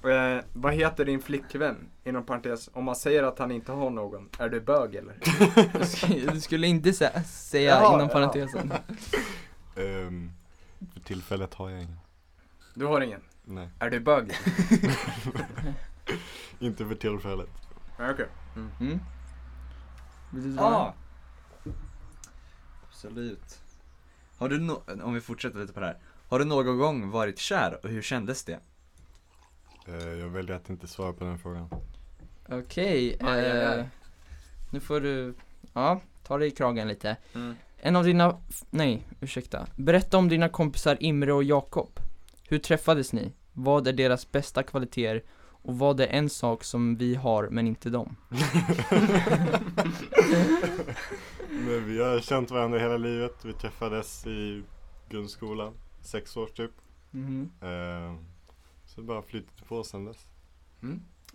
Speaker 3: Eh, vad heter din flickvän? Inom parentes, om man säger att han inte har någon, är du bög eller?
Speaker 1: Du sk- <laughs> Du skulle inte sä- säga
Speaker 3: Jaha,
Speaker 1: inom
Speaker 3: ja.
Speaker 1: parentesen.
Speaker 4: Ehm, för tillfället har jag ingen.
Speaker 3: Du har ingen?
Speaker 4: Nej,
Speaker 3: Är du bög?
Speaker 4: inte för tillfället.
Speaker 3: Ja, Okej.
Speaker 1: Mm. Vill du dra
Speaker 2: Ja. Absolut. Har du no- om vi fortsätter lite på det här. Har du någon gång varit kär och hur kändes det?
Speaker 4: Eh, Jag väljer att inte svara på den frågan.
Speaker 1: den? Okej,
Speaker 3: Aj, aj, aj.
Speaker 1: eh, nu får du, ja, ta dig i kragen lite.
Speaker 3: Mm.
Speaker 1: En av dina, nej, ursäkta. Berätta om dina kompisar Imre och Jakob. Hur träffades ni? Vad är deras bästa kvaliteter? Och vad är en sak som vi har men inte dem?
Speaker 4: Men vi har känt varandra hela livet. Vi träffades i grundskolan, sex år typ.
Speaker 3: Mhm.
Speaker 4: Eh, Så det bara flyttat på sen dess.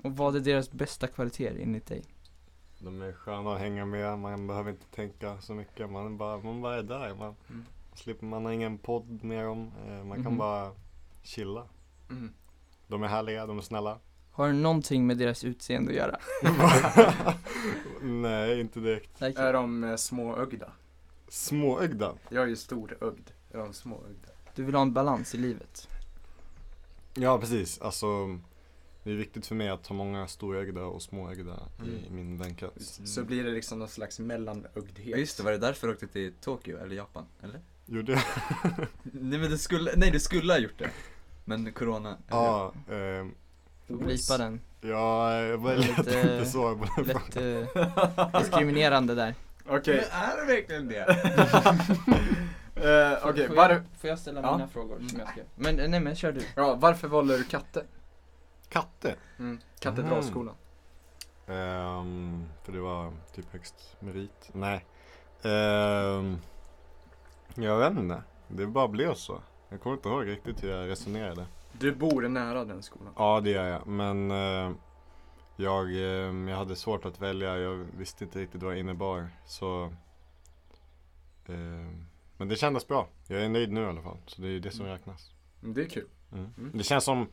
Speaker 1: Och vad är deras bästa kvaliteter enligt dig?
Speaker 4: De är sköna att hänga med, man behöver inte tänka så mycket. Man, är bara, man bara är där. Man,
Speaker 3: Mm.
Speaker 4: slipper, man har ingen podd med dem. Eh, Man kan
Speaker 1: Mhm.
Speaker 4: bara chilla.
Speaker 3: Mm.
Speaker 4: De är härliga, de är snälla.
Speaker 1: Har det någonting med deras utseende att göra?
Speaker 4: Nej, inte direkt.
Speaker 1: Tack.
Speaker 3: Är de eh, småögda?
Speaker 4: Småögda.
Speaker 3: Jag är ju storögd. Är de småögda?
Speaker 1: Du vill ha en balans i livet.
Speaker 4: Ja, precis. Alltså, det är viktigt för mig att ha många storögda och småögda i
Speaker 2: Mm.
Speaker 4: min vänkrets.
Speaker 3: Så blir det liksom någon slags mellanögdhet.
Speaker 2: Ja, just det, var det därför du åkte till Tokyo eller Japan? Eller?
Speaker 4: Gjorde jag?
Speaker 2: Nej men du skulle, nej du skulle ha gjort det. Men corona. eller?
Speaker 4: Ja, eh,
Speaker 1: Blipa
Speaker 3: <laughs>
Speaker 1: den.
Speaker 4: ja, jag väljer att
Speaker 1: Lite-
Speaker 4: <laughs> inte svara på den
Speaker 1: Lätt eh, diskriminerande där.
Speaker 3: Okej,
Speaker 1: <laughs>
Speaker 2: Men är det verkligen det?
Speaker 3: eh, okej,
Speaker 1: Får
Speaker 3: var,
Speaker 1: jag, får jag ställa
Speaker 3: Ja.
Speaker 1: mina frågor som jag skrev? Men eh, nej men kör du.
Speaker 3: ja, varför valde du katter?
Speaker 4: Katte.
Speaker 3: Mm. Katedralskolan.
Speaker 4: Ehm, för det var typ högst merit. Nej. Ehm, jag vet inte. Det bara blev så. Jag kommer inte ihåg riktigt hur jag resonerade.
Speaker 3: Du bor nära den skolan.
Speaker 4: Ja, det gör jag. Men eh, jag, ehm, jag hade svårt att välja. Jag visste inte riktigt vad det innebar. Så, ehm, men det kändes bra. Jag är nöjd nu i alla fall. Så det är det som räknas.
Speaker 3: Mm, Det är kul.
Speaker 4: Mm.
Speaker 3: Mm.
Speaker 4: Det känns som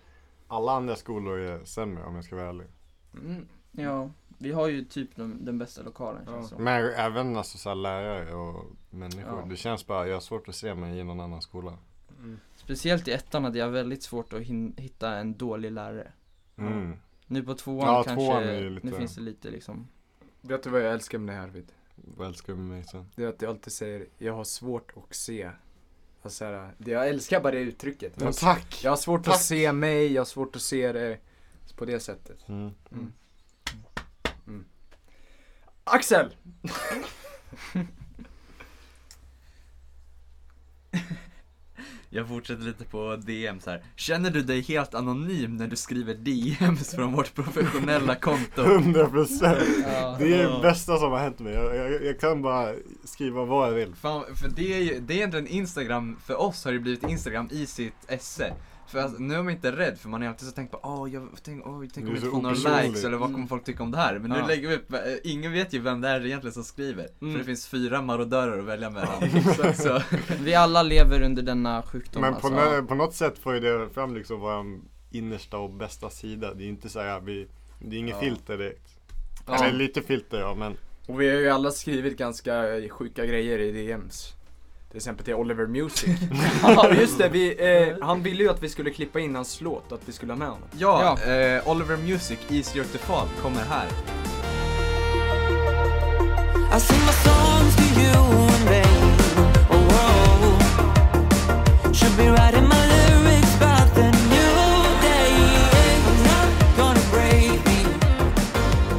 Speaker 4: alla andra skolor är sämre om jag ska vara ärlig.
Speaker 3: Mm.
Speaker 1: Ja, vi har ju typ de, den bästa lokalen
Speaker 3: Ja.
Speaker 1: känns det som.
Speaker 4: Men även alltså så här lärare och människor.
Speaker 1: Ja.
Speaker 4: Det känns bara, jag har svårt att se mig i någon annan skola.
Speaker 3: Mm.
Speaker 1: Speciellt i ettan hade jag väldigt svårt att hin- hitta en dålig lärare
Speaker 4: Mm.
Speaker 1: Nu på tvåan
Speaker 4: Ja,
Speaker 1: kanske,
Speaker 4: tvåan är ju
Speaker 1: nu
Speaker 4: lite-
Speaker 1: finns det lite liksom
Speaker 3: Vet du vad jag älskar med det här Arvid?
Speaker 4: Vad älskar du med mig sen?
Speaker 3: Det är att jag alltid säger, jag har svårt att se. Alltså, så här, det- jag älskar bara det uttrycket. Jag, har-
Speaker 4: tack!
Speaker 3: jag har svårt
Speaker 4: Tack.
Speaker 3: att se mig, jag har svårt att se det på det sättet.
Speaker 4: Mm. <laughs>
Speaker 3: Axel!
Speaker 2: <laughs> Jag fortsätter lite på DM så här. Känner du dig helt anonym när du skriver DMs från vårt professionella konto?
Speaker 4: 100 procent!
Speaker 1: ja.
Speaker 4: Det är det bästa som har hänt mig. Jag, jag, jag kan bara skriva vad jag vill.
Speaker 2: Fan, för det är ju, det är egentligen Instagram, för oss har det blivit Instagram i sitt esse. För alltså, nu är man inte rädd, för man är alltid så tänkt på, åh, jag tänk, åh, tänk
Speaker 4: Du är
Speaker 2: om vi inte får
Speaker 4: så
Speaker 2: några
Speaker 4: opersonlig."
Speaker 2: likes eller vad kommer folk tycka om det här? Men nu
Speaker 1: Ja.
Speaker 2: lägger vi upp, eh, ingen vet ju vem det är egentligen som skriver.
Speaker 3: Mm.
Speaker 2: För det finns fyra marodörer att välja mellan.
Speaker 4: <laughs>
Speaker 2: så,
Speaker 1: Vi alla lever under denna sjukdom
Speaker 4: Men på,
Speaker 1: alltså.
Speaker 4: nå- på något sätt får ju det fram liksom vår innersta och bästa sida. Det är inte så här, vi, det är inget
Speaker 2: Ja.
Speaker 4: filter direkt.
Speaker 3: Ja.
Speaker 4: Eller lite filter ja, men
Speaker 3: Och vi har ju alla skrivit ganska sjuka grejer i DMs. Till exempel till Oliver <laughs> Music. Ja just det, vi, eh, han ville ju att vi skulle klippa in hans låt, att vi skulle ha med honom.
Speaker 2: ja, Eh, Oliver Music, Easier to Fall, kommer här.
Speaker 5: I sing my songs to you and rain. Oh, whoa. Should be writing my lyrics about the new day. Not gonna break me.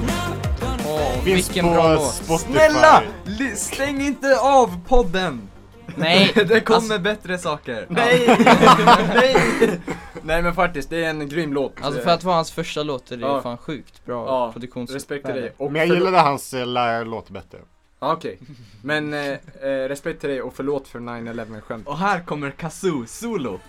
Speaker 5: Not gonna
Speaker 1: Åh,
Speaker 4: finns
Speaker 1: vilken
Speaker 4: på
Speaker 1: bra låt!
Speaker 4: Spotify.
Speaker 2: Snälla! li- Stäng inte av podden!
Speaker 1: Nej!
Speaker 2: det kommer
Speaker 1: alltså,
Speaker 2: bättre saker.
Speaker 3: Nej! Nej! <laughs> Nej men faktiskt, det är en grym låt. Eh,
Speaker 1: alltså för att vara hans första låt är det ju
Speaker 3: Ja.
Speaker 1: fan sjukt bra
Speaker 3: Ja,
Speaker 1: produktions...
Speaker 3: Respekt till dig. Och
Speaker 4: Men jag
Speaker 3: förlåt-
Speaker 4: gillade hans eh, lärarlåt bättre.
Speaker 3: Ja, Okej. Men eh, eh, respekt till dig och förlåt för 9-11 skämt.
Speaker 2: Och här kommer Kazoo solo.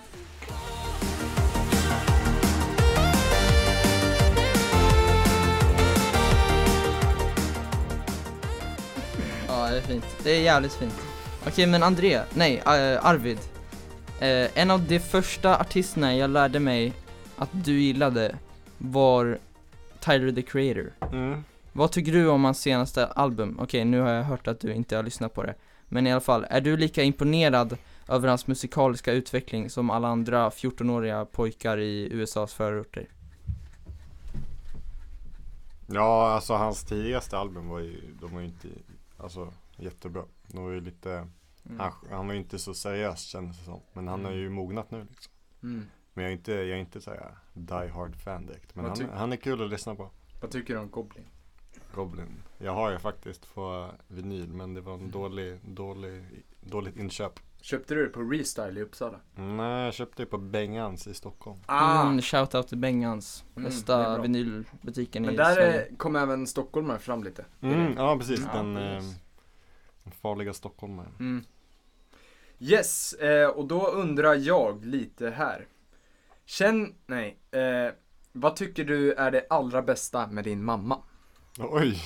Speaker 1: Ja, det är fint. Det är jävligt fint. Okej, men André, nej, eh, Arvid. Eh, en av de första artisterna jag lärde mig att du gillade var Tyler the Creator.
Speaker 4: Mm.
Speaker 1: Vad tycker du om hans senaste album? Okej, nu har jag hört att du inte har lyssnat på det. Men i alla fall, är du lika imponerad över hans musikaliska utveckling som alla andra 14-åriga pojkar i USAs förorter?
Speaker 4: Ja, alltså hans tidigaste album var ju, de var ju inte alltså, jättebra. De var ju lite, han, han var ju inte så seriös kändes det som. Men han har ju mognat nu liksom.
Speaker 3: Mm.
Speaker 4: Men jag är inte, jag är inte såhär die hard fan direkt. Men
Speaker 3: Vad
Speaker 4: han,
Speaker 3: tyck-
Speaker 4: han är kul att lyssna på.
Speaker 3: Vad tycker du om Goblin?
Speaker 4: Goblin. Jag har ju faktiskt på vinyl men det var en dålig, dålig, dåligt inköp.
Speaker 3: Köpte du det på Restyle i Uppsala?
Speaker 4: Nej, jag köpte ju på Bengans i Stockholm.
Speaker 1: Mm, shout out till Bengans,
Speaker 3: Ah. Mm,
Speaker 1: bästa
Speaker 3: det är bra.
Speaker 1: vinylbutiken
Speaker 3: Men
Speaker 1: i
Speaker 3: där
Speaker 1: Sverige.
Speaker 3: eh, kom även stockholmare fram lite.
Speaker 4: Mm, ja precis,
Speaker 1: Ja,
Speaker 4: den,
Speaker 1: precis.
Speaker 4: eh, den farliga stockholmaren.
Speaker 3: Mm. Yes, eh, och då undrar jag lite här. Känn, nej, eh, vad tycker du är det allra bästa med din mamma?
Speaker 4: Oj!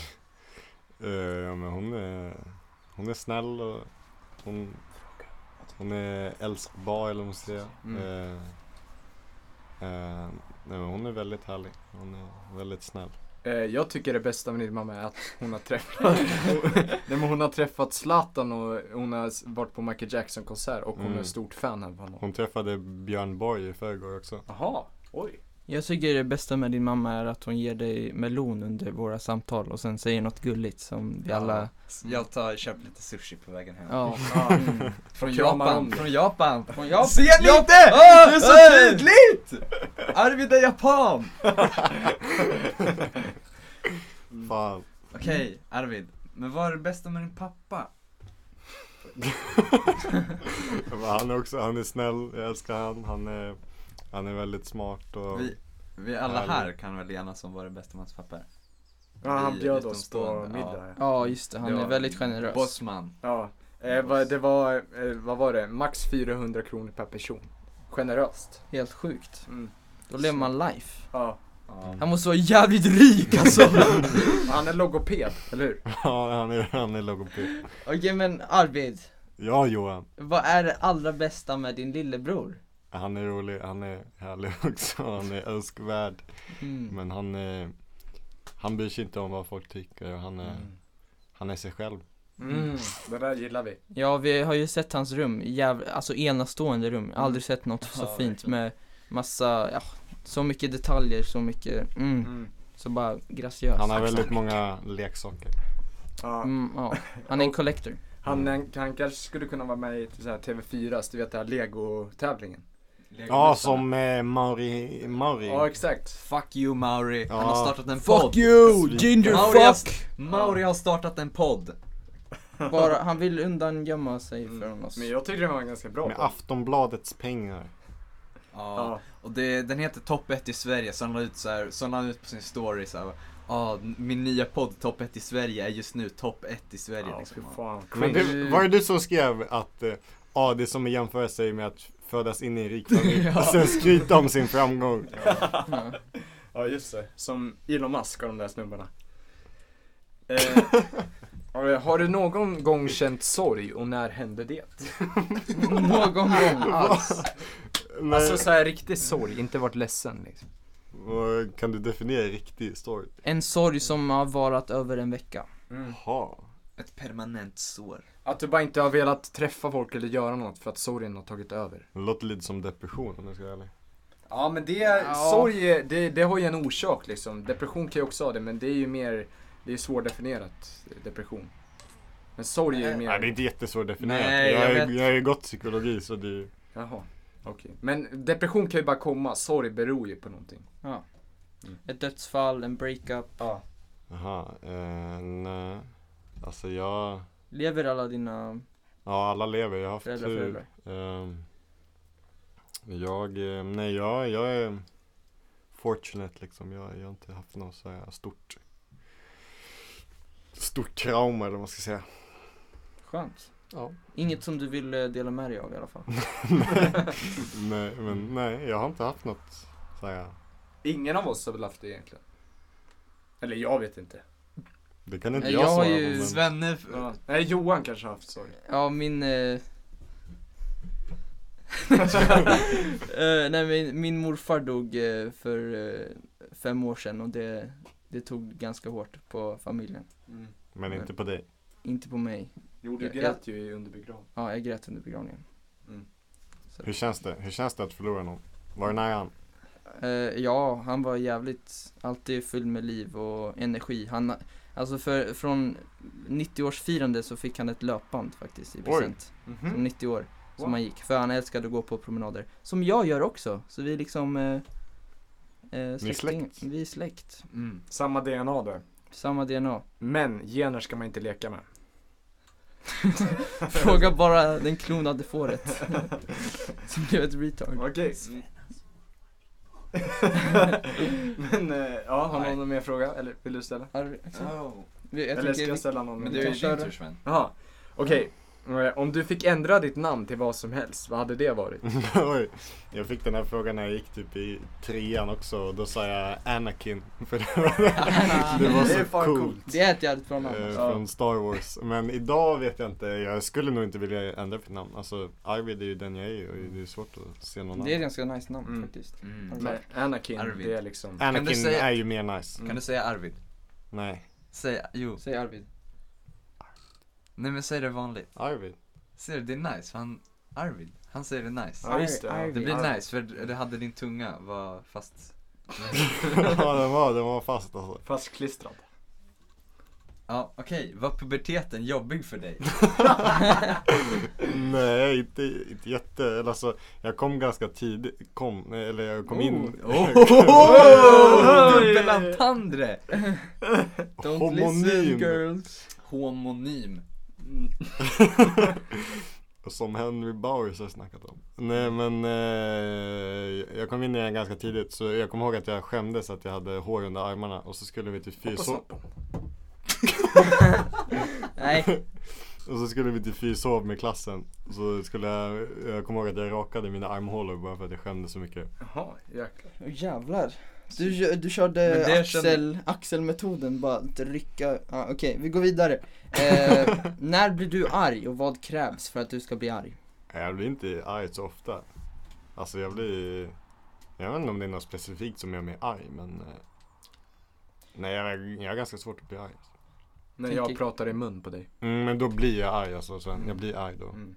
Speaker 4: Eh, ja, men hon är, hon är snäll och hon, hon är älskbar eller vad man ska säga.
Speaker 3: Mm.
Speaker 4: Eh, eh, nej, men hon är väldigt härlig. Hon är väldigt snäll.
Speaker 3: Eh, jag tycker det bästa med din mamma är att hon har träffat, <laughs> nej, men hon har träffat Zlatan och hon har s- varit på Michael Jackson konsert och hon
Speaker 4: Mm.
Speaker 3: är stort fan av honom.
Speaker 4: Hon träffade Björn Borg i förrgår också.
Speaker 3: Jaha, oj.
Speaker 1: Jag tycker det bästa med din mamma är att hon ger dig melon under våra samtal och sen säger något gulligt som vi
Speaker 2: Ja.
Speaker 1: alla...
Speaker 2: Jag tar, köper lite sushi på vägen hem.
Speaker 1: Ja.
Speaker 3: Ah,
Speaker 1: Mm.
Speaker 2: Från,
Speaker 3: Kramar om
Speaker 2: Japan,
Speaker 3: det.
Speaker 2: från Japan! Ah,
Speaker 1: Från Japan.
Speaker 2: Ser ni
Speaker 1: Japan.
Speaker 2: inte? Det är så
Speaker 1: Hey!
Speaker 2: tydligt! <laughs> Arvid är japan!
Speaker 4: Fan.
Speaker 2: Okej, Arvid. Men vad är det bästa med din pappa?
Speaker 4: Men Han är också, han är snäll, jag älskar han. Han är, han är väldigt smart och
Speaker 2: Vi, vi alla
Speaker 4: Härligt.
Speaker 2: här kan väl enas om vad det bästa med hans pappa är.
Speaker 3: Ja, han
Speaker 2: Vi
Speaker 3: bjöd oss på
Speaker 2: utomstående, ja.
Speaker 3: middag. Ja.
Speaker 1: Ja, just det. Han
Speaker 2: Det
Speaker 1: är
Speaker 2: var-
Speaker 1: väldigt generös.
Speaker 2: Bossman.
Speaker 3: Ja. Eh, vad, det var, eh, vad var det, max 400 kronor per person. Generöst.
Speaker 1: Helt sjukt.
Speaker 3: Mm.
Speaker 1: Då lever man life.
Speaker 3: Ja.
Speaker 1: Han måste vara jävligt rik alltså.
Speaker 3: Han är logoped, eller hur?
Speaker 4: <laughs> ja, han är, han är logoped.
Speaker 1: Okej men Arvid,
Speaker 4: Ja Johan,
Speaker 1: vad är det allra bästa med din lillebror?
Speaker 4: han är <laughs>
Speaker 1: Hmm.
Speaker 4: Mm. rolig, han är härlig också, han är önskvärd. Men han är, Han bryr sig inte om vad folk tycker, han är, han är sig själv.
Speaker 3: Mm, det där gillar vi.
Speaker 1: Ja, vi har ju sett hans rum, jävla, alltså enastående rum. Jag har aldrig sett något så
Speaker 2: Ja,
Speaker 1: fint
Speaker 2: verkligen.
Speaker 1: med massa, ja, så mycket detaljer, så mycket, mm,
Speaker 3: Mm.
Speaker 1: så bara graciöst.
Speaker 4: Han har väldigt många leksaker.
Speaker 3: Ja.
Speaker 1: Mm, ja. Han är en collector.
Speaker 3: Han, han kanske skulle kunna vara med i så här TV4, du vet den här Lego-tävlingen.
Speaker 4: Ja, som eh, Mauri, Mauri.
Speaker 3: Ja, exakt.
Speaker 2: Fuck you Mauri, han har
Speaker 4: Ja.
Speaker 2: startat en
Speaker 1: <laughs> Fuck
Speaker 2: podd
Speaker 1: you,
Speaker 4: Svin.
Speaker 1: ginger
Speaker 2: Mauri har,
Speaker 1: fuck!
Speaker 2: Mauri har startat en podd
Speaker 1: Bara, han vill undan gömma sig
Speaker 3: Mm.
Speaker 1: från oss.
Speaker 3: Men jag tycker det var en ganska bra
Speaker 4: Med
Speaker 3: podd.
Speaker 4: Aftonbladets pengar.
Speaker 2: Ja,
Speaker 3: Ja.
Speaker 2: och det, den heter Topp 1 i Sverige, så han la ut, så här, så han la ut på sin story så här, Ja, min nya podd Topp 1 i Sverige är just nu Topp 1 i Sverige
Speaker 3: Ja, fy
Speaker 2: liksom.
Speaker 3: fan.
Speaker 4: Men du, var det du som skrev att eh, ah, det är som att jämföra sig med att födas in i en rik
Speaker 3: <laughs>
Speaker 4: familj och sen skryta om sin framgång?
Speaker 1: Ja.
Speaker 3: Ja, just det. Som Elon Musk och de där <laughs> snubbarna. Eh, ja, har du någon gång känt sorg och när hände det?
Speaker 1: <laughs> Någon gång alls.
Speaker 4: Nej.
Speaker 3: Alltså så här riktig sorg, inte varit ledsen liksom.
Speaker 4: Vad Kan du definiera riktig story?
Speaker 1: En sorg som har varat över en vecka.
Speaker 3: Mm.
Speaker 4: Jaha.
Speaker 2: Ett permanent sår.
Speaker 3: Att du bara inte har velat träffa folk eller göra något för att sorgen har tagit över.
Speaker 4: Det låter lite som depression om jag ska vara ärlig.
Speaker 3: Ja men det,
Speaker 1: Ja.
Speaker 3: sorg, är- det, det har ju en orsak liksom. Depression kan ju också ha det men det är ju mer, det är svårdefinierat eh, depression. Men sorg är ju mer,
Speaker 4: Nej det är inte jättesvårt definierat.
Speaker 2: Nej,
Speaker 4: jag,
Speaker 2: jag
Speaker 4: är,
Speaker 2: vet.
Speaker 4: jag är gott psykologi så det är
Speaker 3: jaha, okej. Mm. Men depression kan ju bara komma, sorg beror ju på någonting.
Speaker 1: Ett dödsfall, en breakup.
Speaker 3: Ja.
Speaker 4: Jaha, eh, nej. Alltså jag,
Speaker 1: Lever alla dina
Speaker 4: ja alla lever, jag har haft
Speaker 1: föräldrar,
Speaker 4: tur.
Speaker 1: föräldrar?
Speaker 4: Ehm, jag, eh, nej jag, jag är fortunate liksom. Jag, jag har inte haft något så här stort, stort trauma eller vad man ska säga.
Speaker 1: Skönt.
Speaker 4: Ja.
Speaker 1: Inget som du vill eh, dela med dig av i alla fall.
Speaker 4: nej, men nej, jag har inte haft något så här.
Speaker 3: Ingen av oss har väl haft det egentligen. Eller jag vet inte.
Speaker 4: Det kan inte
Speaker 1: Nej,
Speaker 4: jag,
Speaker 1: jag har
Speaker 4: svara
Speaker 1: ju-
Speaker 4: på. Men,
Speaker 2: Svenne, <laughs>
Speaker 3: Ja. Nej, Johan kanske har haft sorg.
Speaker 1: Ja, min... Eh... <laughs> Eh, nej, min, min morfar dog eh, för eh, fem år sedan och det, det tog ganska hårt på familjen.
Speaker 3: Mm.
Speaker 4: men inte på dig.
Speaker 1: Inte på mig.
Speaker 3: Jo,
Speaker 1: du
Speaker 3: du
Speaker 1: grät
Speaker 3: grät ju under begravningen.
Speaker 1: Ja, jag grät under begravningen.
Speaker 3: Mm.
Speaker 1: Så,
Speaker 4: Hur känns det? Hur känns det att förlora någon? Var det nära han?
Speaker 1: eh, ja, han var jävligt, alltid fylld med liv och energi. Han, alltså för, från 90-årsfirande så fick han ett löpband faktiskt i present.
Speaker 3: Mhm.
Speaker 1: Som 90 år. Som
Speaker 3: Mm. Wow.
Speaker 1: han gick. För han älskade att gå på promenader. Som jag gör också. Så vi är liksom eh, eh, släkting-
Speaker 4: släkt.
Speaker 1: Vi är släkt.
Speaker 2: mm.
Speaker 3: Samma DNA där.
Speaker 1: Samma DNA.
Speaker 3: <laughs> Men gener ska man inte leka med.
Speaker 1: Fråga bara den klonade
Speaker 3: <laughs>
Speaker 1: fåret. som blev ett retard.
Speaker 3: Okej. <laughs> Men eh, ja, har någon någon mer fråga? Eller vill du ställa?
Speaker 1: Har- Axel?
Speaker 2: Oh.
Speaker 1: alltså, Vi- Jag
Speaker 3: Eller
Speaker 1: tänker
Speaker 3: ska jag
Speaker 1: vi-
Speaker 3: ställa någon?
Speaker 2: Men
Speaker 3: mer?
Speaker 2: det är ju
Speaker 1: köra.
Speaker 2: din tur Sven.
Speaker 3: Jaha, okej. Eh, Om du fick ändra ditt namn till vad som helst, vad hade det varit?
Speaker 4: <laughs> Oj, jag fick den här frågan när jag gick typ i trean också och då sa jag Anakin för det var, det var
Speaker 3: Det är
Speaker 4: så
Speaker 3: fan
Speaker 4: coolt.
Speaker 3: coolt.
Speaker 1: Det är ett jävligt bra namn.
Speaker 4: Eh,
Speaker 1: alltså.
Speaker 3: Ja.
Speaker 4: från Star Wars. Men idag vet jag inte, jag skulle nog inte vilja ändra mitt namn. Alltså Arvid är ju den jag är och det är svårt att se någon annan.
Speaker 1: Det är ett ganska nice namn
Speaker 3: Mm.
Speaker 1: faktiskt.
Speaker 2: Mm.
Speaker 1: Arvid.
Speaker 3: Men Anakin,
Speaker 2: Arvid.
Speaker 3: det är liksom...
Speaker 2: Kan du
Speaker 4: Anakin
Speaker 2: säga-
Speaker 4: är ju mer nice.
Speaker 2: Kan du säga Arvid?
Speaker 4: Nej,
Speaker 2: Säg, jo.
Speaker 1: Säg Arvid.
Speaker 2: Nej men säg det vanligt.
Speaker 4: Arvid. <laughs>
Speaker 2: Ser du, det är nice, för han, Arvid, han säger det nice.
Speaker 3: Ja, just det. ja.
Speaker 2: Det
Speaker 1: Arvid.
Speaker 2: blir
Speaker 3: Arvid.
Speaker 2: nice, för det hade din tunga var fast.
Speaker 4: ja, den var, den var fast alltså.
Speaker 3: Fastklistrad.
Speaker 2: Ja, okej, var puberteten jobbig för
Speaker 3: <laughs>
Speaker 2: dig?
Speaker 4: Nej, inte, inte jätte. Eller alltså, jag kom ganska tidigt. Kom, nej, eller jag kom in. <laughs>
Speaker 2: Oh, Dubbelantandre!
Speaker 1: Don't
Speaker 4: Homonym.
Speaker 1: listen girls.
Speaker 2: Homonym.
Speaker 4: Som Henry Bowers har snackat om. Nej men eh, jag kom in i den ganska tidigt så jag kommer ihåg att jag skämdes att jag hade hår under armarna och så skulle vi till fyshov
Speaker 1: Nej,
Speaker 4: och så skulle vi till fyshov med klassen. Och Så skulle jag, jag kommer ihåg att jag rakade mina armhålor bara för att jag skämdes så mycket.
Speaker 3: Jaha, jäklar.
Speaker 1: Åh, jävlar. Du, kö- du
Speaker 2: Men
Speaker 1: körde
Speaker 2: det
Speaker 1: axel, axelmetoden, bara rycka, ah, okej vi går vidare. Eh, när blir du arg och vad krävs för att du ska bli arg?
Speaker 4: Jag blir inte arg så ofta. Alltså jag blir, jag vet inte om det är något specifikt som gör mig arg men eh, Nej jag, jag har ganska svårt att bli arg. Alltså.
Speaker 3: När
Speaker 1: Tänker-
Speaker 3: jag pratar i mun på dig.
Speaker 4: Mm, men då blir jag arg alltså sen. Jag blir arg då.
Speaker 3: Mm.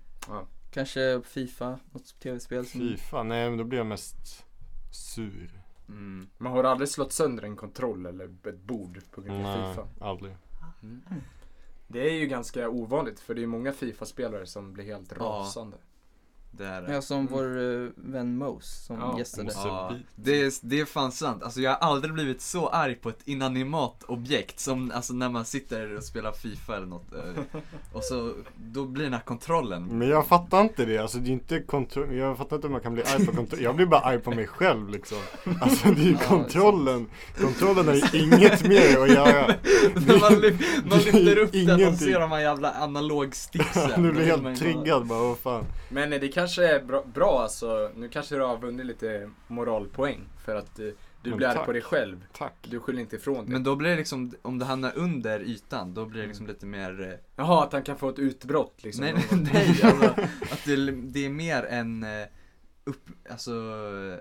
Speaker 1: Kanske Fifa, något tv-spel som...
Speaker 4: Fifa, nej men då blir jag mest sur.
Speaker 2: Mm.
Speaker 3: Man har aldrig slått sönder en kontroll eller ett bord på grund av
Speaker 4: Nej,
Speaker 3: Fifa.
Speaker 4: aldrig.
Speaker 3: Det är ju ganska ovanligt för det är många Fifa-spelare som blir helt rasande.
Speaker 2: Det är
Speaker 1: Ja,
Speaker 2: det.
Speaker 1: som
Speaker 3: Mm.
Speaker 1: vår eh, vän Mose som
Speaker 3: Ja,
Speaker 1: gästade.
Speaker 4: Mose.
Speaker 2: Ja, det, är, det är fan sant. Alltså jag har aldrig blivit så arg på ett inanimat objekt som alltså när man sitter och spelar FIFA eller något. eh,
Speaker 4: <laughs>
Speaker 2: Och så, då blir den här kontrollen.
Speaker 4: Men jag fattar inte det, alltså det är inte kontroll, jag fattar inte hur man kan bli arg på kontroll, jag blir bara arg på mig själv liksom Alltså det är ju
Speaker 1: Ja,
Speaker 4: kontrollen, kontrollen har ju inget med det
Speaker 1: <laughs>
Speaker 4: att göra
Speaker 2: <laughs> När man, lyf- man
Speaker 4: Det är
Speaker 2: lyfter upp den och
Speaker 4: ingenting.
Speaker 2: ser de här jävla
Speaker 4: <laughs>
Speaker 2: analogsticksen.
Speaker 4: Du
Speaker 2: Då
Speaker 4: blir
Speaker 2: man
Speaker 4: helt
Speaker 2: ju
Speaker 4: triggad bara, vad fan
Speaker 3: Men eh, det kanske är bra, bra alltså. Nu kanske du har vunnit lite moralpoäng för att eh, du
Speaker 4: Men
Speaker 3: blir arg
Speaker 4: tack.
Speaker 3: på dig själv.
Speaker 4: Tack
Speaker 3: Du skyller inte ifrån dig.
Speaker 2: Men då blir det liksom, om det hamnar under ytan, då blir det liksom lite mer eh,
Speaker 3: Jaha, att han kan få ett utbrott <laughs> liksom.
Speaker 2: Nej, nej, nej
Speaker 3: <laughs>
Speaker 2: alltså, att det, det är mer en eh, upp, alltså eh,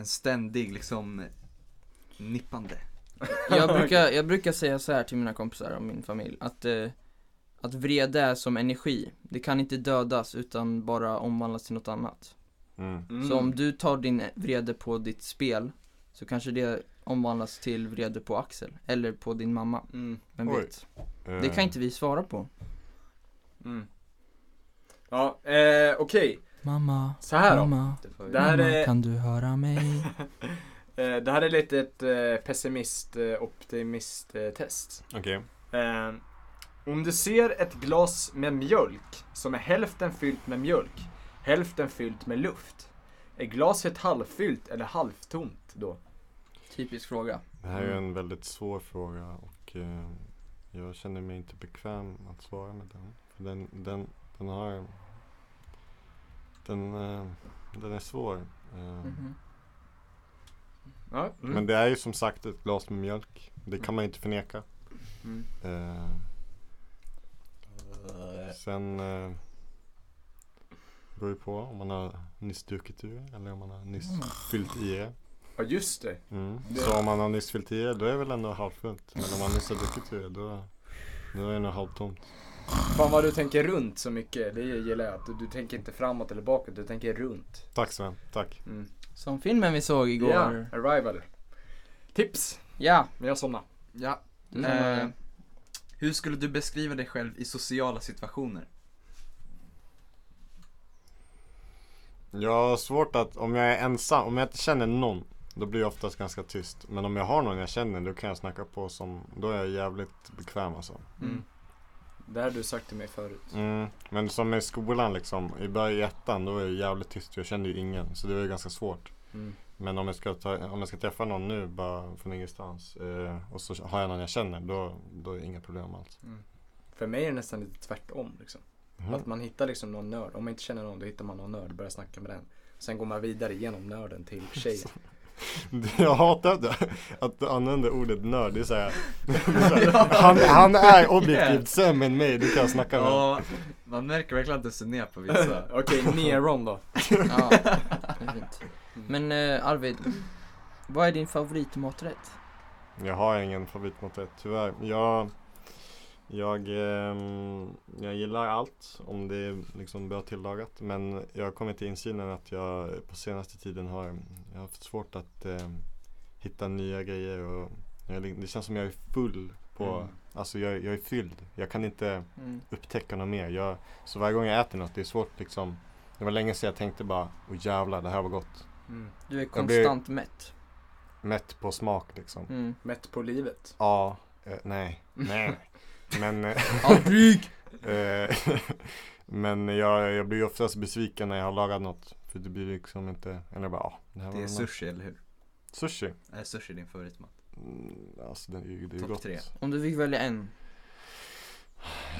Speaker 2: en ständig liksom eh, nippande.
Speaker 1: Jag brukar, jag brukar säga så här till mina kompisar och min familj att, eh, att vrede är som energi. Det kan inte dödas utan bara omvandlas till något annat.
Speaker 4: mm.
Speaker 3: Mm.
Speaker 1: Så om du tar din vrede på ditt spel så kanske det omvandlas till vrede på Axel eller på din mamma.
Speaker 3: Mm.
Speaker 1: Vem
Speaker 4: Oj. eh.
Speaker 1: vet? Det kan inte vi svara på.
Speaker 3: Mm. Ja, eh, okej.
Speaker 1: Mamma, <laughs>
Speaker 3: Så här då.
Speaker 1: mamma,
Speaker 3: Det här är,
Speaker 1: kan du höra mig?
Speaker 3: eh, det här är lite ett eh, pessimist eh, optimist eh, test.
Speaker 4: Okej,
Speaker 3: Eh, om du ser ett glas med mjölk som är hälften fyllt med mjölk, hälften fyllt med luft. Är glaset halvfyllt eller halvtomt då?
Speaker 1: Typisk fråga.
Speaker 4: det här är ju en väldigt svår fråga och eh, jag känner mig inte bekväm att svara med den För den, den, den har, den, eh, den är svår eh,
Speaker 1: Mm-hmm.
Speaker 3: Mhm. Ja, mm.
Speaker 4: Men det är ju som sagt ett glas med mjölk, det kan man ju inte förneka
Speaker 3: Mm.
Speaker 4: Eh, sen eh, beror det på om man har nyss druckit ur det eller om man har nyss
Speaker 1: Mm.
Speaker 4: fyllt i det.
Speaker 3: ja just det.
Speaker 4: Mm.
Speaker 3: Mm. Det-
Speaker 4: Så om man har nyss fyllt i det, då är det väl ändå halvfullt. Men om man nyss har druckit ur det, då, då är det nog halvtomt.
Speaker 3: Fan vad du tänker runt så mycket. Det gillar jag. Att du, du tänker inte framåt eller bakåt, du tänker runt.
Speaker 4: Tack Sven, tack.
Speaker 3: Mm.
Speaker 1: Som filmen vi såg igår.
Speaker 3: Ja, Arrival. Tips,
Speaker 1: Ja,
Speaker 3: men jag somnade.
Speaker 2: Ja.
Speaker 1: du
Speaker 4: Mm.
Speaker 1: som har-
Speaker 2: Eh, hur skulle du beskriva dig själv i sociala situationer?
Speaker 4: Jag har svårt att, om jag är ensam, om jag inte känner någon, då blir jag oftast ganska tyst. Men om jag har någon jag känner, då kan jag snacka på som, då är jag jävligt bekväm alltså.
Speaker 3: Mm. Det här har du sagt till mig förut.
Speaker 4: Mm, men som i skolan liksom, i början i ettan då var jag jävligt tyst, jag kände ju ingen. Så det var ju ganska svårt.
Speaker 3: Mm.
Speaker 4: Men om jag ska, ta, om jag ska träffa någon nu bara från ingenstans eh, och så har jag någon jag känner, då, då är det inga problem alls.
Speaker 3: För mig är det nästan lite tvärtom. Liksom.
Speaker 4: Mhm.
Speaker 1: Mm.
Speaker 3: Att man hittar liksom någon nörd. Om man inte känner någon då hittar man någon nörd och börjar snacka med den. Sen går man vidare genom nörden till
Speaker 1: <laughs>
Speaker 3: tjejen.
Speaker 4: <laughs> Jag hatar det, att du använder ordet nörd, det är såhär, han, han är objektivt sämre än mig, du kan jag snacka med.
Speaker 2: Ja, man märker verkligen att du ser ner på
Speaker 4: <laughs>
Speaker 2: vissa.
Speaker 3: Okej, Neron då. <laughs>
Speaker 1: Ja, det är fint. Men eh, Arvid, vad är din favoritmaträtt?
Speaker 4: Jag har ingen favoritmaträtt tyvärr. Jag, jag, ehm, jag gillar allt om det är liksom bra tillagat. Men jag har kommit till insynen att jag på senaste tiden har, jag har haft svårt att ehm, hitta nya grejer. Och jag, li- det känns som jag är full på,
Speaker 3: Mm.
Speaker 4: alltså jag, jag är fylld. Jag kan inte
Speaker 1: Mm.
Speaker 4: upptäcka något mer. Jag, så varje gång jag äter något, det är svårt liksom. Det var länge sedan jag tänkte bara, åh jävlar det här var gott.
Speaker 3: Mm.
Speaker 1: Du är
Speaker 4: Jag blir-
Speaker 1: konstant mätt.
Speaker 4: Mätt på smak liksom.
Speaker 1: Mm.
Speaker 3: Mätt på livet.
Speaker 4: Ja, eh, nej,
Speaker 2: <laughs>
Speaker 4: nej. Men eh,
Speaker 1: Aldrig!
Speaker 4: Eh, <laughs> Men jag, jag blir ju oftast besviken när jag har lagat något. För det blir liksom inte, eller bara ja. Det, här var
Speaker 2: Det är
Speaker 4: väl
Speaker 2: sushi, eller hur?
Speaker 4: nice. Sushi?
Speaker 2: Är sushi din favoritmat?
Speaker 4: Mm, alltså det är ju det är ju
Speaker 2: Topp
Speaker 4: gott.
Speaker 2: tre.
Speaker 1: Om du fick välja en, om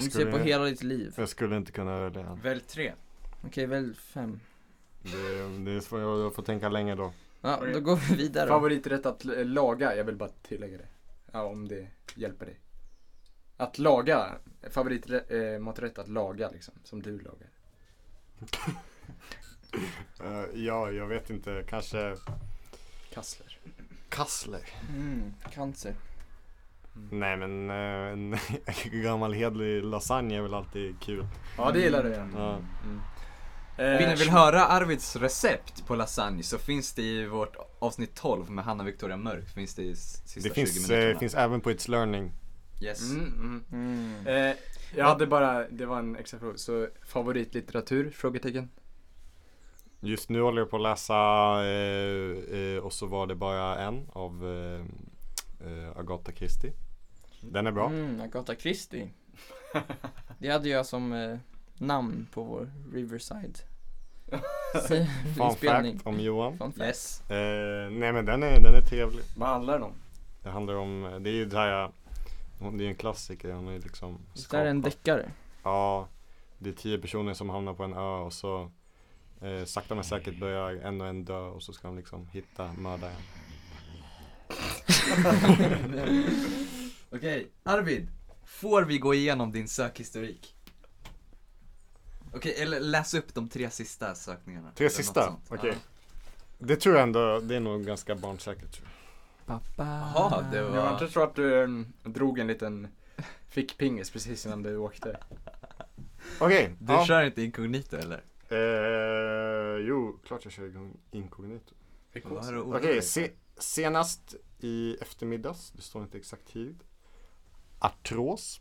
Speaker 1: du ser på
Speaker 4: Skulle-
Speaker 1: hela ditt liv.
Speaker 4: Jag skulle inte kunna välja det.
Speaker 2: Välj tre.
Speaker 1: Okej, välj fem.
Speaker 4: Det, det är svårt, jag jag får tänka länge då.
Speaker 1: Ja,
Speaker 3: Okej.
Speaker 1: då går vi vidare. då.
Speaker 3: Favoriträtt att l- laga, jag vill bara tillägga det. Ja, om det hjälper dig. Att laga, favoritmaträtt att laga liksom, som du lagar.
Speaker 4: Eh, ja, jag vet inte. Kanske
Speaker 3: Kassler.
Speaker 4: kassler.
Speaker 1: Mm, cancer.
Speaker 4: Nej men eh, <laughs> en gammal hederlig lasagne är väl alltid kul.
Speaker 3: Ja det gillar du ja.
Speaker 1: Mm.
Speaker 4: Ja.
Speaker 3: Eh,
Speaker 2: Vill ni vill höra Arvids recept på lasagne så finns det i vårt avsnitt 12 med Hanna Victoria Mörk, finns det i s- sista 20
Speaker 4: Det finns,
Speaker 2: minuterna.
Speaker 4: eh, finns även på It's Learning.
Speaker 2: Yes.
Speaker 3: Mm, mm.
Speaker 1: Mm.
Speaker 3: Eh, jag hade bara, det var en extra fråga, så favoritlitteratur? Frågetecken?
Speaker 4: Just nu håller jag på att läsa eh, eh, och så var det bara en av eh, eh, Agatha Christie. Den är bra.
Speaker 1: Mm, Agatha <laughs> Christie. Det hade jag som eh, namn på vår <laughs> Riverside.
Speaker 4: Fun
Speaker 1: Inspelning.
Speaker 4: fact om Johan.
Speaker 1: Fun fact.
Speaker 2: Yes.
Speaker 4: Eh, nej men den är, den är trevlig.
Speaker 3: Vad handlar den om?
Speaker 4: Det handlar om, det är ju det här, hon- det är en klassiker, hon är liksom
Speaker 1: Det där är en
Speaker 4: skapat-
Speaker 1: deckare.
Speaker 4: Ja, det är tio personer som hamnar på en ö och så eh, sakta men säkert börjar en och en dö och så ska de liksom hitta mördaren.
Speaker 2: Okej, Arvid. Får vi gå igenom din sökhistorik? Okej, eller läs upp de tre sista sökningarna.
Speaker 4: Tre
Speaker 2: Eller något
Speaker 4: sista?
Speaker 2: sånt.
Speaker 4: Okej. Det tror jag ändå, det är nog ganska barnsäkert tror jag.
Speaker 1: Pappa.
Speaker 2: Jaha,
Speaker 1: <laughs>
Speaker 2: det
Speaker 3: Jag
Speaker 2: var-
Speaker 3: har inte tror att du mm, drog en liten fickpingis precis innan du åkte.
Speaker 4: Okej,
Speaker 2: Du
Speaker 4: ja.
Speaker 2: kör inte inkognito eller?
Speaker 4: Eh, jo, klart jag kör igång inkognito.
Speaker 2: Vad har du oroat
Speaker 4: Okej,
Speaker 2: dig
Speaker 4: se, senast i eftermiddags, det står inte exakt tid. Artros.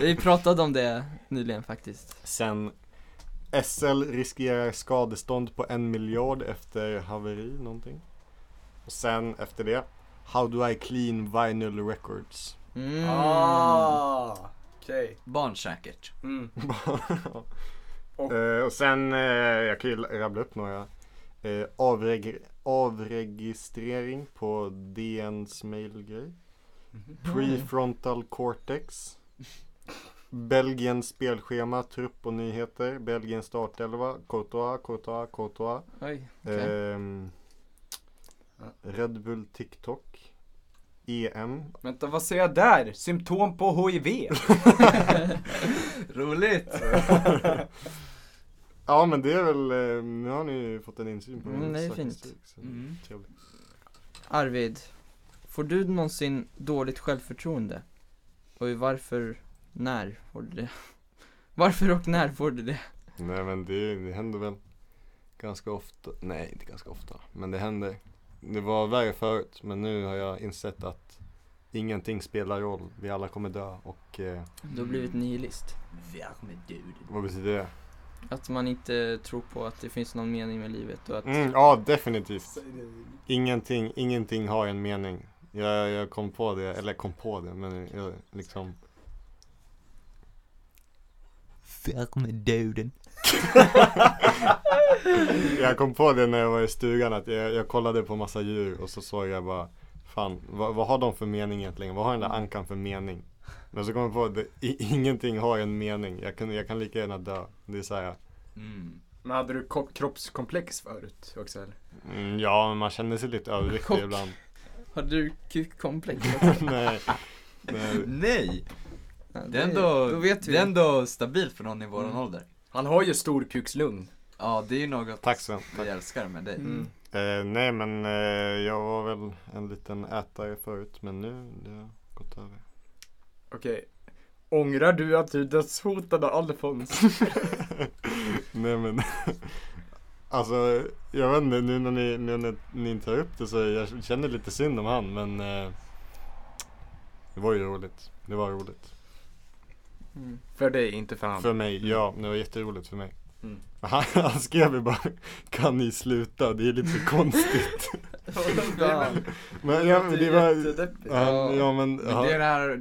Speaker 1: Vi pratade om det nyligen faktiskt.
Speaker 4: Sen SL riskerar skadestånd på en miljard efter haveri någonting. Och sen efter det, How do I clean vinyl records? <laughs>
Speaker 1: Mm.
Speaker 3: Ah, Okej.
Speaker 2: för? Barn säkert.
Speaker 3: Mm.
Speaker 4: och. Eh, och sen, eh, jag kan ju rabbla upp några. Eh, avreg- avregistrering på DNs mailgrej. Prefrontal cortex. Belgiens spelschema, trupp och nyheter. Belgiens startelva. Courtois, Courtois, Courtois.
Speaker 1: Oj, okej.
Speaker 4: Ehm, Red Bull TikTok. E
Speaker 1: <laughs>
Speaker 4: EM.
Speaker 3: Vänta, vad ser jag där? Symptom på HIV?
Speaker 2: <laughs> Roligt!
Speaker 4: Ja men det är väl, eh, nu har ni ju fått en insyn på
Speaker 1: Mm,
Speaker 4: min
Speaker 1: det är fint.
Speaker 4: statistik, så
Speaker 2: Mm.
Speaker 4: trevligt.
Speaker 1: Arvid, får du någonsin dåligt självförtroende? Och varför, när får du det? <laughs> Varför och när får du det?
Speaker 4: Nej men det, det händer väl ganska ofta, nej inte ganska ofta, men det händer. Det var värre förut men nu har jag insett att ingenting spelar roll, vi alla kommer dö och eh,
Speaker 1: Du har blivit nihilist.
Speaker 2: Värme du.
Speaker 4: vad betyder det?
Speaker 1: Att man inte tror på att det finns någon mening med livet och att
Speaker 4: Mm, ja definitivt. Ingenting, ingenting har en mening. Jag, jag kom på det, eller kom på det, men jag liksom
Speaker 5: med döden.
Speaker 4: Jag kom på det när jag var i stugan att jag, jag kollade på massa djur och så såg jag bara Fan, vad, vad har de för mening egentligen? Vad har den där ankan för mening? Men så kom jag på att det- i- ingenting har en mening. Jag kan, jag kan lika gärna dö. Det är såhär,
Speaker 2: Mm.
Speaker 3: Men hade du ko- kroppskomplex förut också eller?
Speaker 4: mm, ja men man känner sig lite överviktig
Speaker 1: Chock.
Speaker 4: ibland. <laughs>
Speaker 1: Har du <laughs> kukkomplex?
Speaker 4: nej, nej.
Speaker 2: Nej!
Speaker 1: Ja,
Speaker 2: Det är ändå,
Speaker 1: då vet vi.
Speaker 2: det är ändå stabilt för någon i
Speaker 4: Mm.
Speaker 2: våran ålder.
Speaker 3: Han har ju storkukslugn.
Speaker 2: Ja, det är ju något
Speaker 4: Tack så
Speaker 2: vi
Speaker 4: tack.
Speaker 2: älskar med dig.
Speaker 1: Mm.
Speaker 4: Eh, Nej men eh, jag var väl en liten ätare förut men nu det har gått över.
Speaker 3: Okej. Ångrar du att du dödshotade Alfons?
Speaker 4: Nej men <laughs> Alltså jag vet inte nu när ni, nu när ni tar upp det så jag känner lite synd om han men eh, Det var ju roligt, det var roligt
Speaker 1: Mm.
Speaker 3: För dig, inte för han.
Speaker 4: För mig, ja det var jätteroligt för mig
Speaker 3: Mm.
Speaker 4: han, <laughs> han skrev ju bara Kan ni sluta? Det är lite konstigt
Speaker 3: <laughs>
Speaker 4: <laughs> Men ja, men det var han, Ja men
Speaker 2: Men det är
Speaker 4: han,
Speaker 2: det
Speaker 4: <laughs>
Speaker 2: här eh,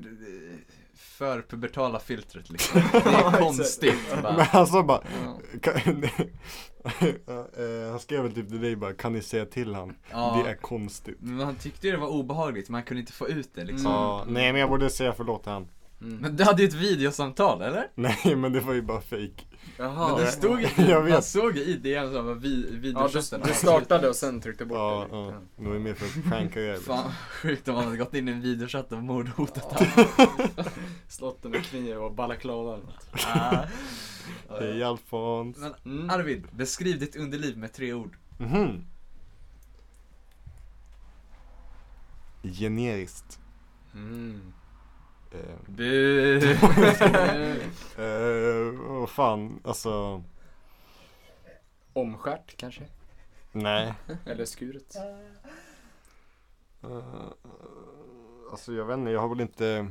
Speaker 2: förpubertala filtret liksom. Det är konstigt.
Speaker 4: <laughs> men
Speaker 2: Bara.
Speaker 4: han sa bara
Speaker 1: Ja.
Speaker 4: kan, <laughs> eh, Han skrev väl typ till dig bara Kan ni säga till han?
Speaker 2: Ja. Mm.
Speaker 4: Det är konstigt
Speaker 2: Men han tyckte ju det var obehagligt, men han kunde inte få ut det liksom.
Speaker 4: Ja, nej men jag borde säga förlåt till han <laughs>
Speaker 2: Men du hade ju ett videosamtal eller?
Speaker 4: Nej men det var ju bara fake.
Speaker 3: Jaha.
Speaker 2: men det stod ju,
Speaker 4: jag vet.
Speaker 2: man såg ju i DN som var vi,
Speaker 3: Ja, du,
Speaker 2: videochatten.
Speaker 3: du startade och sen tryckte bort
Speaker 4: Ja,
Speaker 3: det.
Speaker 4: ja. Det var ju mer för att pranka er.
Speaker 2: Fan sjukt om han hade gått in i en videochatt och mordhotat honom.
Speaker 3: Slått den med kniv och balaklava eller något.
Speaker 2: Ah.
Speaker 4: Hej Alfons.
Speaker 2: Men
Speaker 3: Mm.
Speaker 2: Arvid, beskriv ditt underliv med tre ord.
Speaker 4: Mhm. generiskt.
Speaker 3: Mm.
Speaker 2: <laughs>
Speaker 4: Eh, <laughs>
Speaker 2: Bu.
Speaker 4: eh, vad fan, alltså,
Speaker 3: Omskärt kanske?
Speaker 4: nej.
Speaker 3: Eller skuret?
Speaker 4: Eh, alltså jag vet inte, jag har väl inte,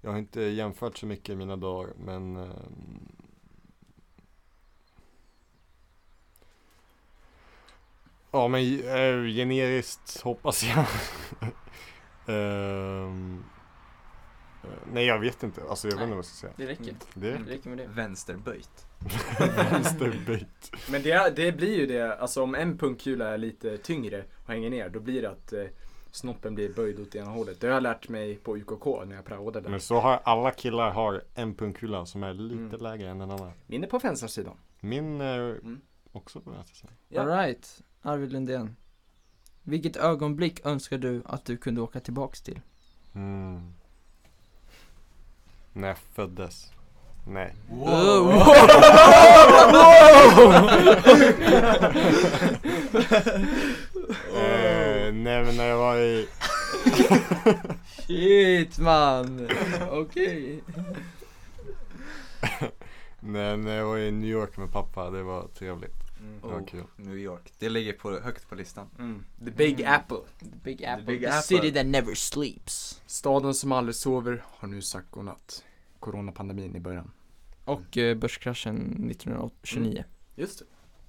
Speaker 4: jag har inte jämfört så mycket i mina dagar, men eh, Ja men eh, generiskt hoppas jag. <laughs> Ehm, eh, nej jag vet inte, alltså jag vet inte vad jag ska säga.
Speaker 1: Det räcker.
Speaker 4: Det <laughs>
Speaker 1: Det räcker med det.
Speaker 2: Vänsterböjt.
Speaker 4: Vänsterböjt.
Speaker 3: Men det, det blir ju det, alltså om en punkkula är lite tyngre och hänger ner då blir det att eh, snoppen blir böjd åt ena hållet. Det har jag lärt mig på UKK när jag praoade där.
Speaker 4: Men så har alla killar har en pungkula som är lite
Speaker 3: Mm.
Speaker 4: lägre än den andra.
Speaker 3: Min är på vänstersidan.
Speaker 4: Min är
Speaker 3: Mm.
Speaker 4: också på vänster sida.
Speaker 3: Ja.
Speaker 1: Alright, Arvid Lindén. Vilket ögonblick önskar du att du kunde åka tillbaks till?
Speaker 4: Mm. När jag föddes. Nej.
Speaker 2: Oh.
Speaker 1: Wow.
Speaker 4: Eh, nej men när jag var i,
Speaker 1: Shit <laughs> man! Okej.
Speaker 4: nej, när jag var i New York med pappa, det var trevligt.
Speaker 3: Mm.
Speaker 4: Det var kul.
Speaker 2: New York. Det ligger på, högt på listan.
Speaker 3: Mm. The Big
Speaker 1: Mm.
Speaker 3: Apple.
Speaker 1: The Big
Speaker 2: Apple. The
Speaker 1: city that never sleeps.
Speaker 3: Staden som aldrig sover har nu sagt godnatt. Coronapandemin i början.
Speaker 1: Och eh, börskraschen 1929.
Speaker 3: Just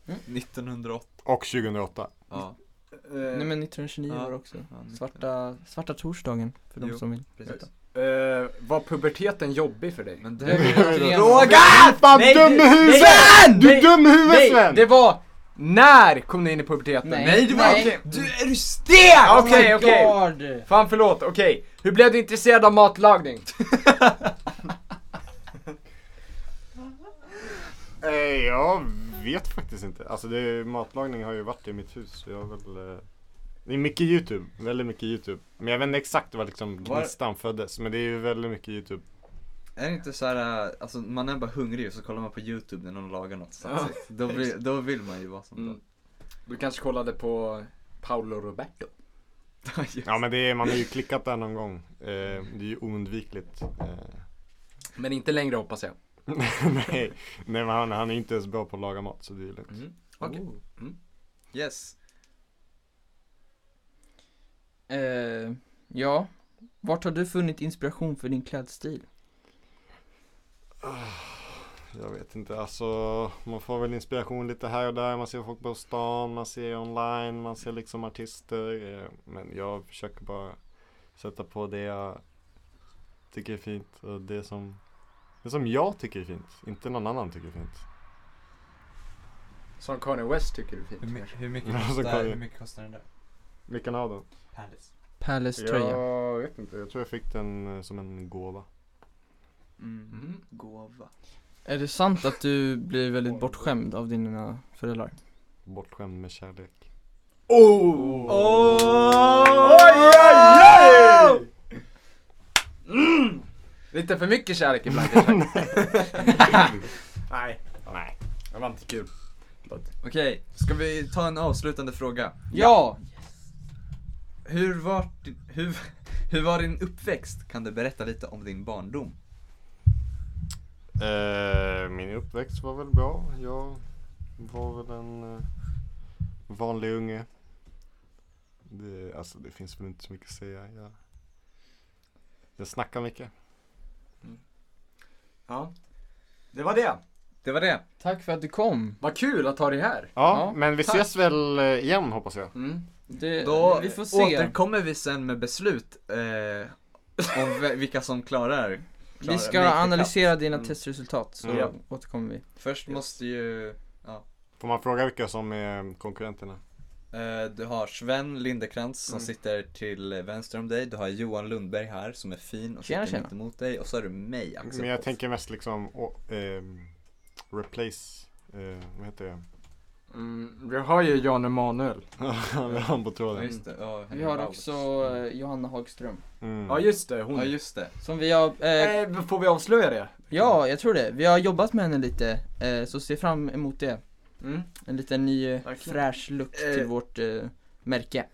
Speaker 3: det.
Speaker 2: 1908.
Speaker 4: Och 2008.
Speaker 2: Ja.
Speaker 3: Eh,
Speaker 1: Nej men 1929
Speaker 2: Ja.
Speaker 1: var det också.
Speaker 2: Ja, nitton-
Speaker 1: Svarta, svarta torsdagen för de
Speaker 2: Jo,
Speaker 1: som vill.
Speaker 2: precis.
Speaker 3: eh, var puberteten jobbig för dig?
Speaker 2: Men
Speaker 1: Det
Speaker 2: det,
Speaker 1: är-
Speaker 4: Roger! Fan
Speaker 3: Nej,
Speaker 4: dum i
Speaker 3: du-
Speaker 4: huvudet!
Speaker 3: nej,
Speaker 4: Du
Speaker 3: nej,
Speaker 4: är dum i huvudet
Speaker 3: Nej,
Speaker 4: Sven!
Speaker 3: det var när kom ni in i puberteten?
Speaker 1: Nej,
Speaker 2: Nej, det var-
Speaker 1: nej.
Speaker 3: Du är du stel!
Speaker 1: Oh
Speaker 3: Ah, Okej,
Speaker 1: my
Speaker 3: okej.
Speaker 1: god!
Speaker 3: Fan förlåt, okej. Hur blev du intresserad av matlagning?
Speaker 4: Eh, jag vet faktiskt inte. Alltså det, matlagning har ju varit i mitt hus. så Jag har väl, eh, det är mycket YouTube. Väldigt mycket YouTube. Men jag vet inte exakt var liksom
Speaker 2: Var-
Speaker 4: gnistan föddes. Men det är ju väldigt mycket YouTube.
Speaker 2: är det inte så här, äh, alltså man är bara hungrig och så kollar man på youtube när någon lagar något satsigt. Då, vill, då vill man ju vara sånt <laughs>
Speaker 3: Mm. Du kanske kollade på Paolo Roberto?
Speaker 2: där. Just.
Speaker 4: Ja men det är, man har ju klickat där någon gång. Eh, det är ju oundvikligt. Eh,
Speaker 3: Men inte längre hoppas jag.
Speaker 4: <laughs> nej, nej men han, han är inte ens bra på att laga mat så det är lugnt.
Speaker 3: Okej.
Speaker 2: Oh.
Speaker 3: Mm.
Speaker 2: Yes.
Speaker 1: Eh, ja, vart har du funnit inspiration för din klädstil?
Speaker 4: Jag vet inte, alltså man får väl inspiration lite här och där. Man ser folk på stan, man ser online, man ser liksom artister. eh, Men jag försöker bara sätta på det jag tycker är fint och det som, det som jag tycker är fint. Inte någon annan tycker är fint.
Speaker 3: Som Kanye West tycker du är fint kanske?
Speaker 4: mycket Ja, så kostar- kan vi- hur
Speaker 2: mycket kostar den där?
Speaker 4: Vilken av dem?
Speaker 2: Palace.
Speaker 1: Palace-tröja.
Speaker 4: Jag vet inte, jag tror jag fick den eh, som en gåva.
Speaker 2: Mm.
Speaker 3: Mm.
Speaker 2: Gåva.
Speaker 1: Är det sant att du blir väldigt bortskämd av dina föräldrar?
Speaker 4: Bortskämd med kärlek.
Speaker 3: Oh!
Speaker 2: Oj, oj,
Speaker 3: oj! Mm. Lite för mycket kärlek ibland kanske? Nej.
Speaker 4: Nej.
Speaker 3: Det var inte kul.
Speaker 2: Okej, ska vi ta en avslutande fråga?
Speaker 1: Ja!
Speaker 2: Hur var, din- hur, hur var din uppväxt? Kan du berätta lite om din barndom?
Speaker 4: Eh, min uppväxt var väl bra. Jag var väl en eh, vanlig unge. Det, alltså det finns väl inte så mycket att säga. Jag, jag snackar mycket.
Speaker 3: Ja. Det var det.
Speaker 2: Det var det.
Speaker 1: Tack för att du kom!
Speaker 3: Vad kul att ha dig här.
Speaker 4: Ja,
Speaker 1: Ja,
Speaker 4: men vi
Speaker 1: tack.
Speaker 4: ses väl eh, igen hoppas jag.
Speaker 3: Mm.
Speaker 1: Det,
Speaker 2: Då
Speaker 1: vi får se.
Speaker 2: återkommer vi sen med beslut eh, om ve- vilka som klarar. klarar
Speaker 1: vi ska
Speaker 2: make the cut.
Speaker 1: analysera dina
Speaker 3: Mm.
Speaker 1: testresultat så
Speaker 4: Ja.
Speaker 1: återkommer vi.
Speaker 2: Först måste ju, ja.
Speaker 4: Får man fråga vilka som är konkurrenterna?
Speaker 2: Eh, du har Sven Lindekrans som
Speaker 3: Mm.
Speaker 2: sitter till vänster om dig. Du har Johan Lundberg här som är fin och
Speaker 1: Tjena,
Speaker 2: sitter
Speaker 1: tjena.
Speaker 2: mitt emot dig. Och så har du mig Axel.
Speaker 4: Men jag
Speaker 2: Hoff.
Speaker 4: tänker mest liksom å- ehm, replace, eh, vad heter det?
Speaker 3: Mm. Vi har ju Jan Emanuel.
Speaker 4: Han är han på
Speaker 2: Ja,
Speaker 4: tråden.
Speaker 2: just det. Ja,
Speaker 1: Vi har
Speaker 2: Henry
Speaker 1: också
Speaker 2: Roberts.
Speaker 1: eh, Johanna Hagström.
Speaker 4: Mm.
Speaker 3: Ja just det, hon.
Speaker 2: Ja just det.
Speaker 1: Som vi har, eh,
Speaker 3: Eh, får vi avslöja det?
Speaker 1: ja jag tror det. Vi har jobbat med henne lite, eh, så se fram emot det.
Speaker 3: Mm.
Speaker 1: En liten ny eh,
Speaker 3: Verkligen.
Speaker 1: fräsch look till
Speaker 2: Eh.
Speaker 1: vårt eh, märke.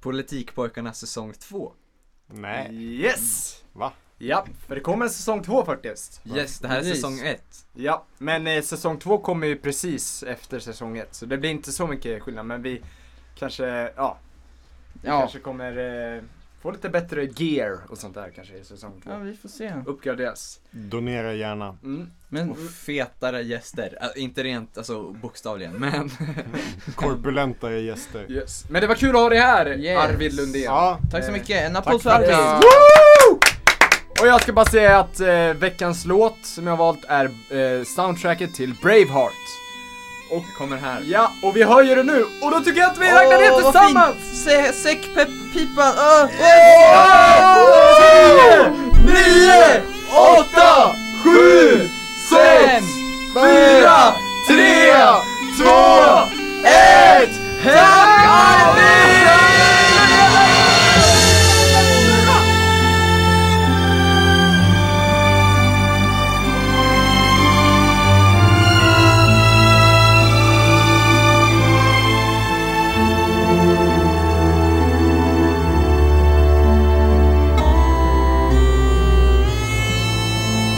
Speaker 2: Politikpojkarna säsong 2
Speaker 4: Nej,
Speaker 3: Yes!
Speaker 4: va?
Speaker 3: Ja, för det kommer en säsong två faktiskt.
Speaker 2: Yes, det här är
Speaker 1: Precis.
Speaker 2: säsong 1
Speaker 3: Ja, men eh, säsong två kommer ju precis efter säsong ett. Så det blir inte så mycket skillnad, men vi kanske, ja, vi
Speaker 1: Ja.
Speaker 3: kanske kommer eh, få lite bättre gear och sånt där kanske i säsong två.
Speaker 1: Ja, vi får
Speaker 3: Eh,
Speaker 1: se.
Speaker 3: Uppgraderas.
Speaker 4: Donera gärna.
Speaker 3: Mm.
Speaker 1: Men
Speaker 2: Och fetare gäster, Äh, inte rent alltså bokstavligen
Speaker 1: <laughs>
Speaker 2: men
Speaker 4: Korpulenta gäster.
Speaker 3: Yes. Men det var kul att ha dig här,
Speaker 1: Yes.
Speaker 3: Arvid Lundén.
Speaker 4: Ja,
Speaker 1: tack så
Speaker 3: Eh,
Speaker 1: mycket, en
Speaker 4: tack
Speaker 1: applåd för
Speaker 4: för
Speaker 1: Arvid!
Speaker 4: det.
Speaker 3: Woo! Och jag ska bara säga att eh, veckans låt som jag har valt är eh, soundtracket till Braveheart.
Speaker 2: och kommer här
Speaker 3: Ja, och vi höjer det nu och då tycker jag att vi räknar ner tillsammans!
Speaker 1: Se, säck, pepp, pipan,
Speaker 3: ah,
Speaker 1: öh!
Speaker 3: Nio, åtta, sju,
Speaker 1: Fem,
Speaker 3: fyra, tre, två, ett! Tack Arvid!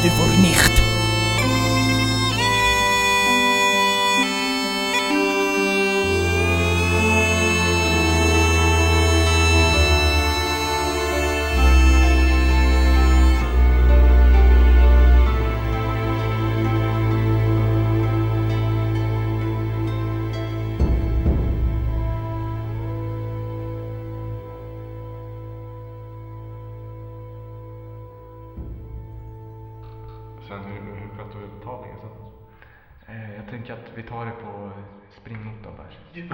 Speaker 5: Du får nicht.
Speaker 6: Sen hur, hur sköter du betalningen sen?
Speaker 7: Eh, Jag tänker att vi tar det på springnotan där. Mm.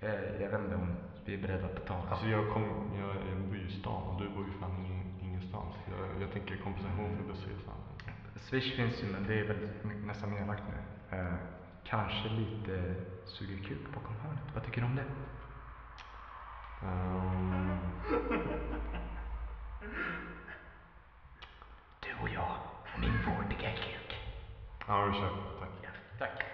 Speaker 7: Eh, Jag vet inte om vi är beredda att betala.
Speaker 6: Alltså jag, kom, jag, jag bor ju i stan och du bor ju fan ingen- ingenstans. Jag, jag tänker kompensation för bussresan.
Speaker 7: Swish finns ju men det är väl nästan nedlagt nu. Eh, Kanske lite suger kuk bakom hörnet. Vad tycker du om det?
Speaker 6: Ehm,
Speaker 7: Du och jag och min vårdiga kuk.
Speaker 6: Ja, vi kör. Tack.
Speaker 7: Tack.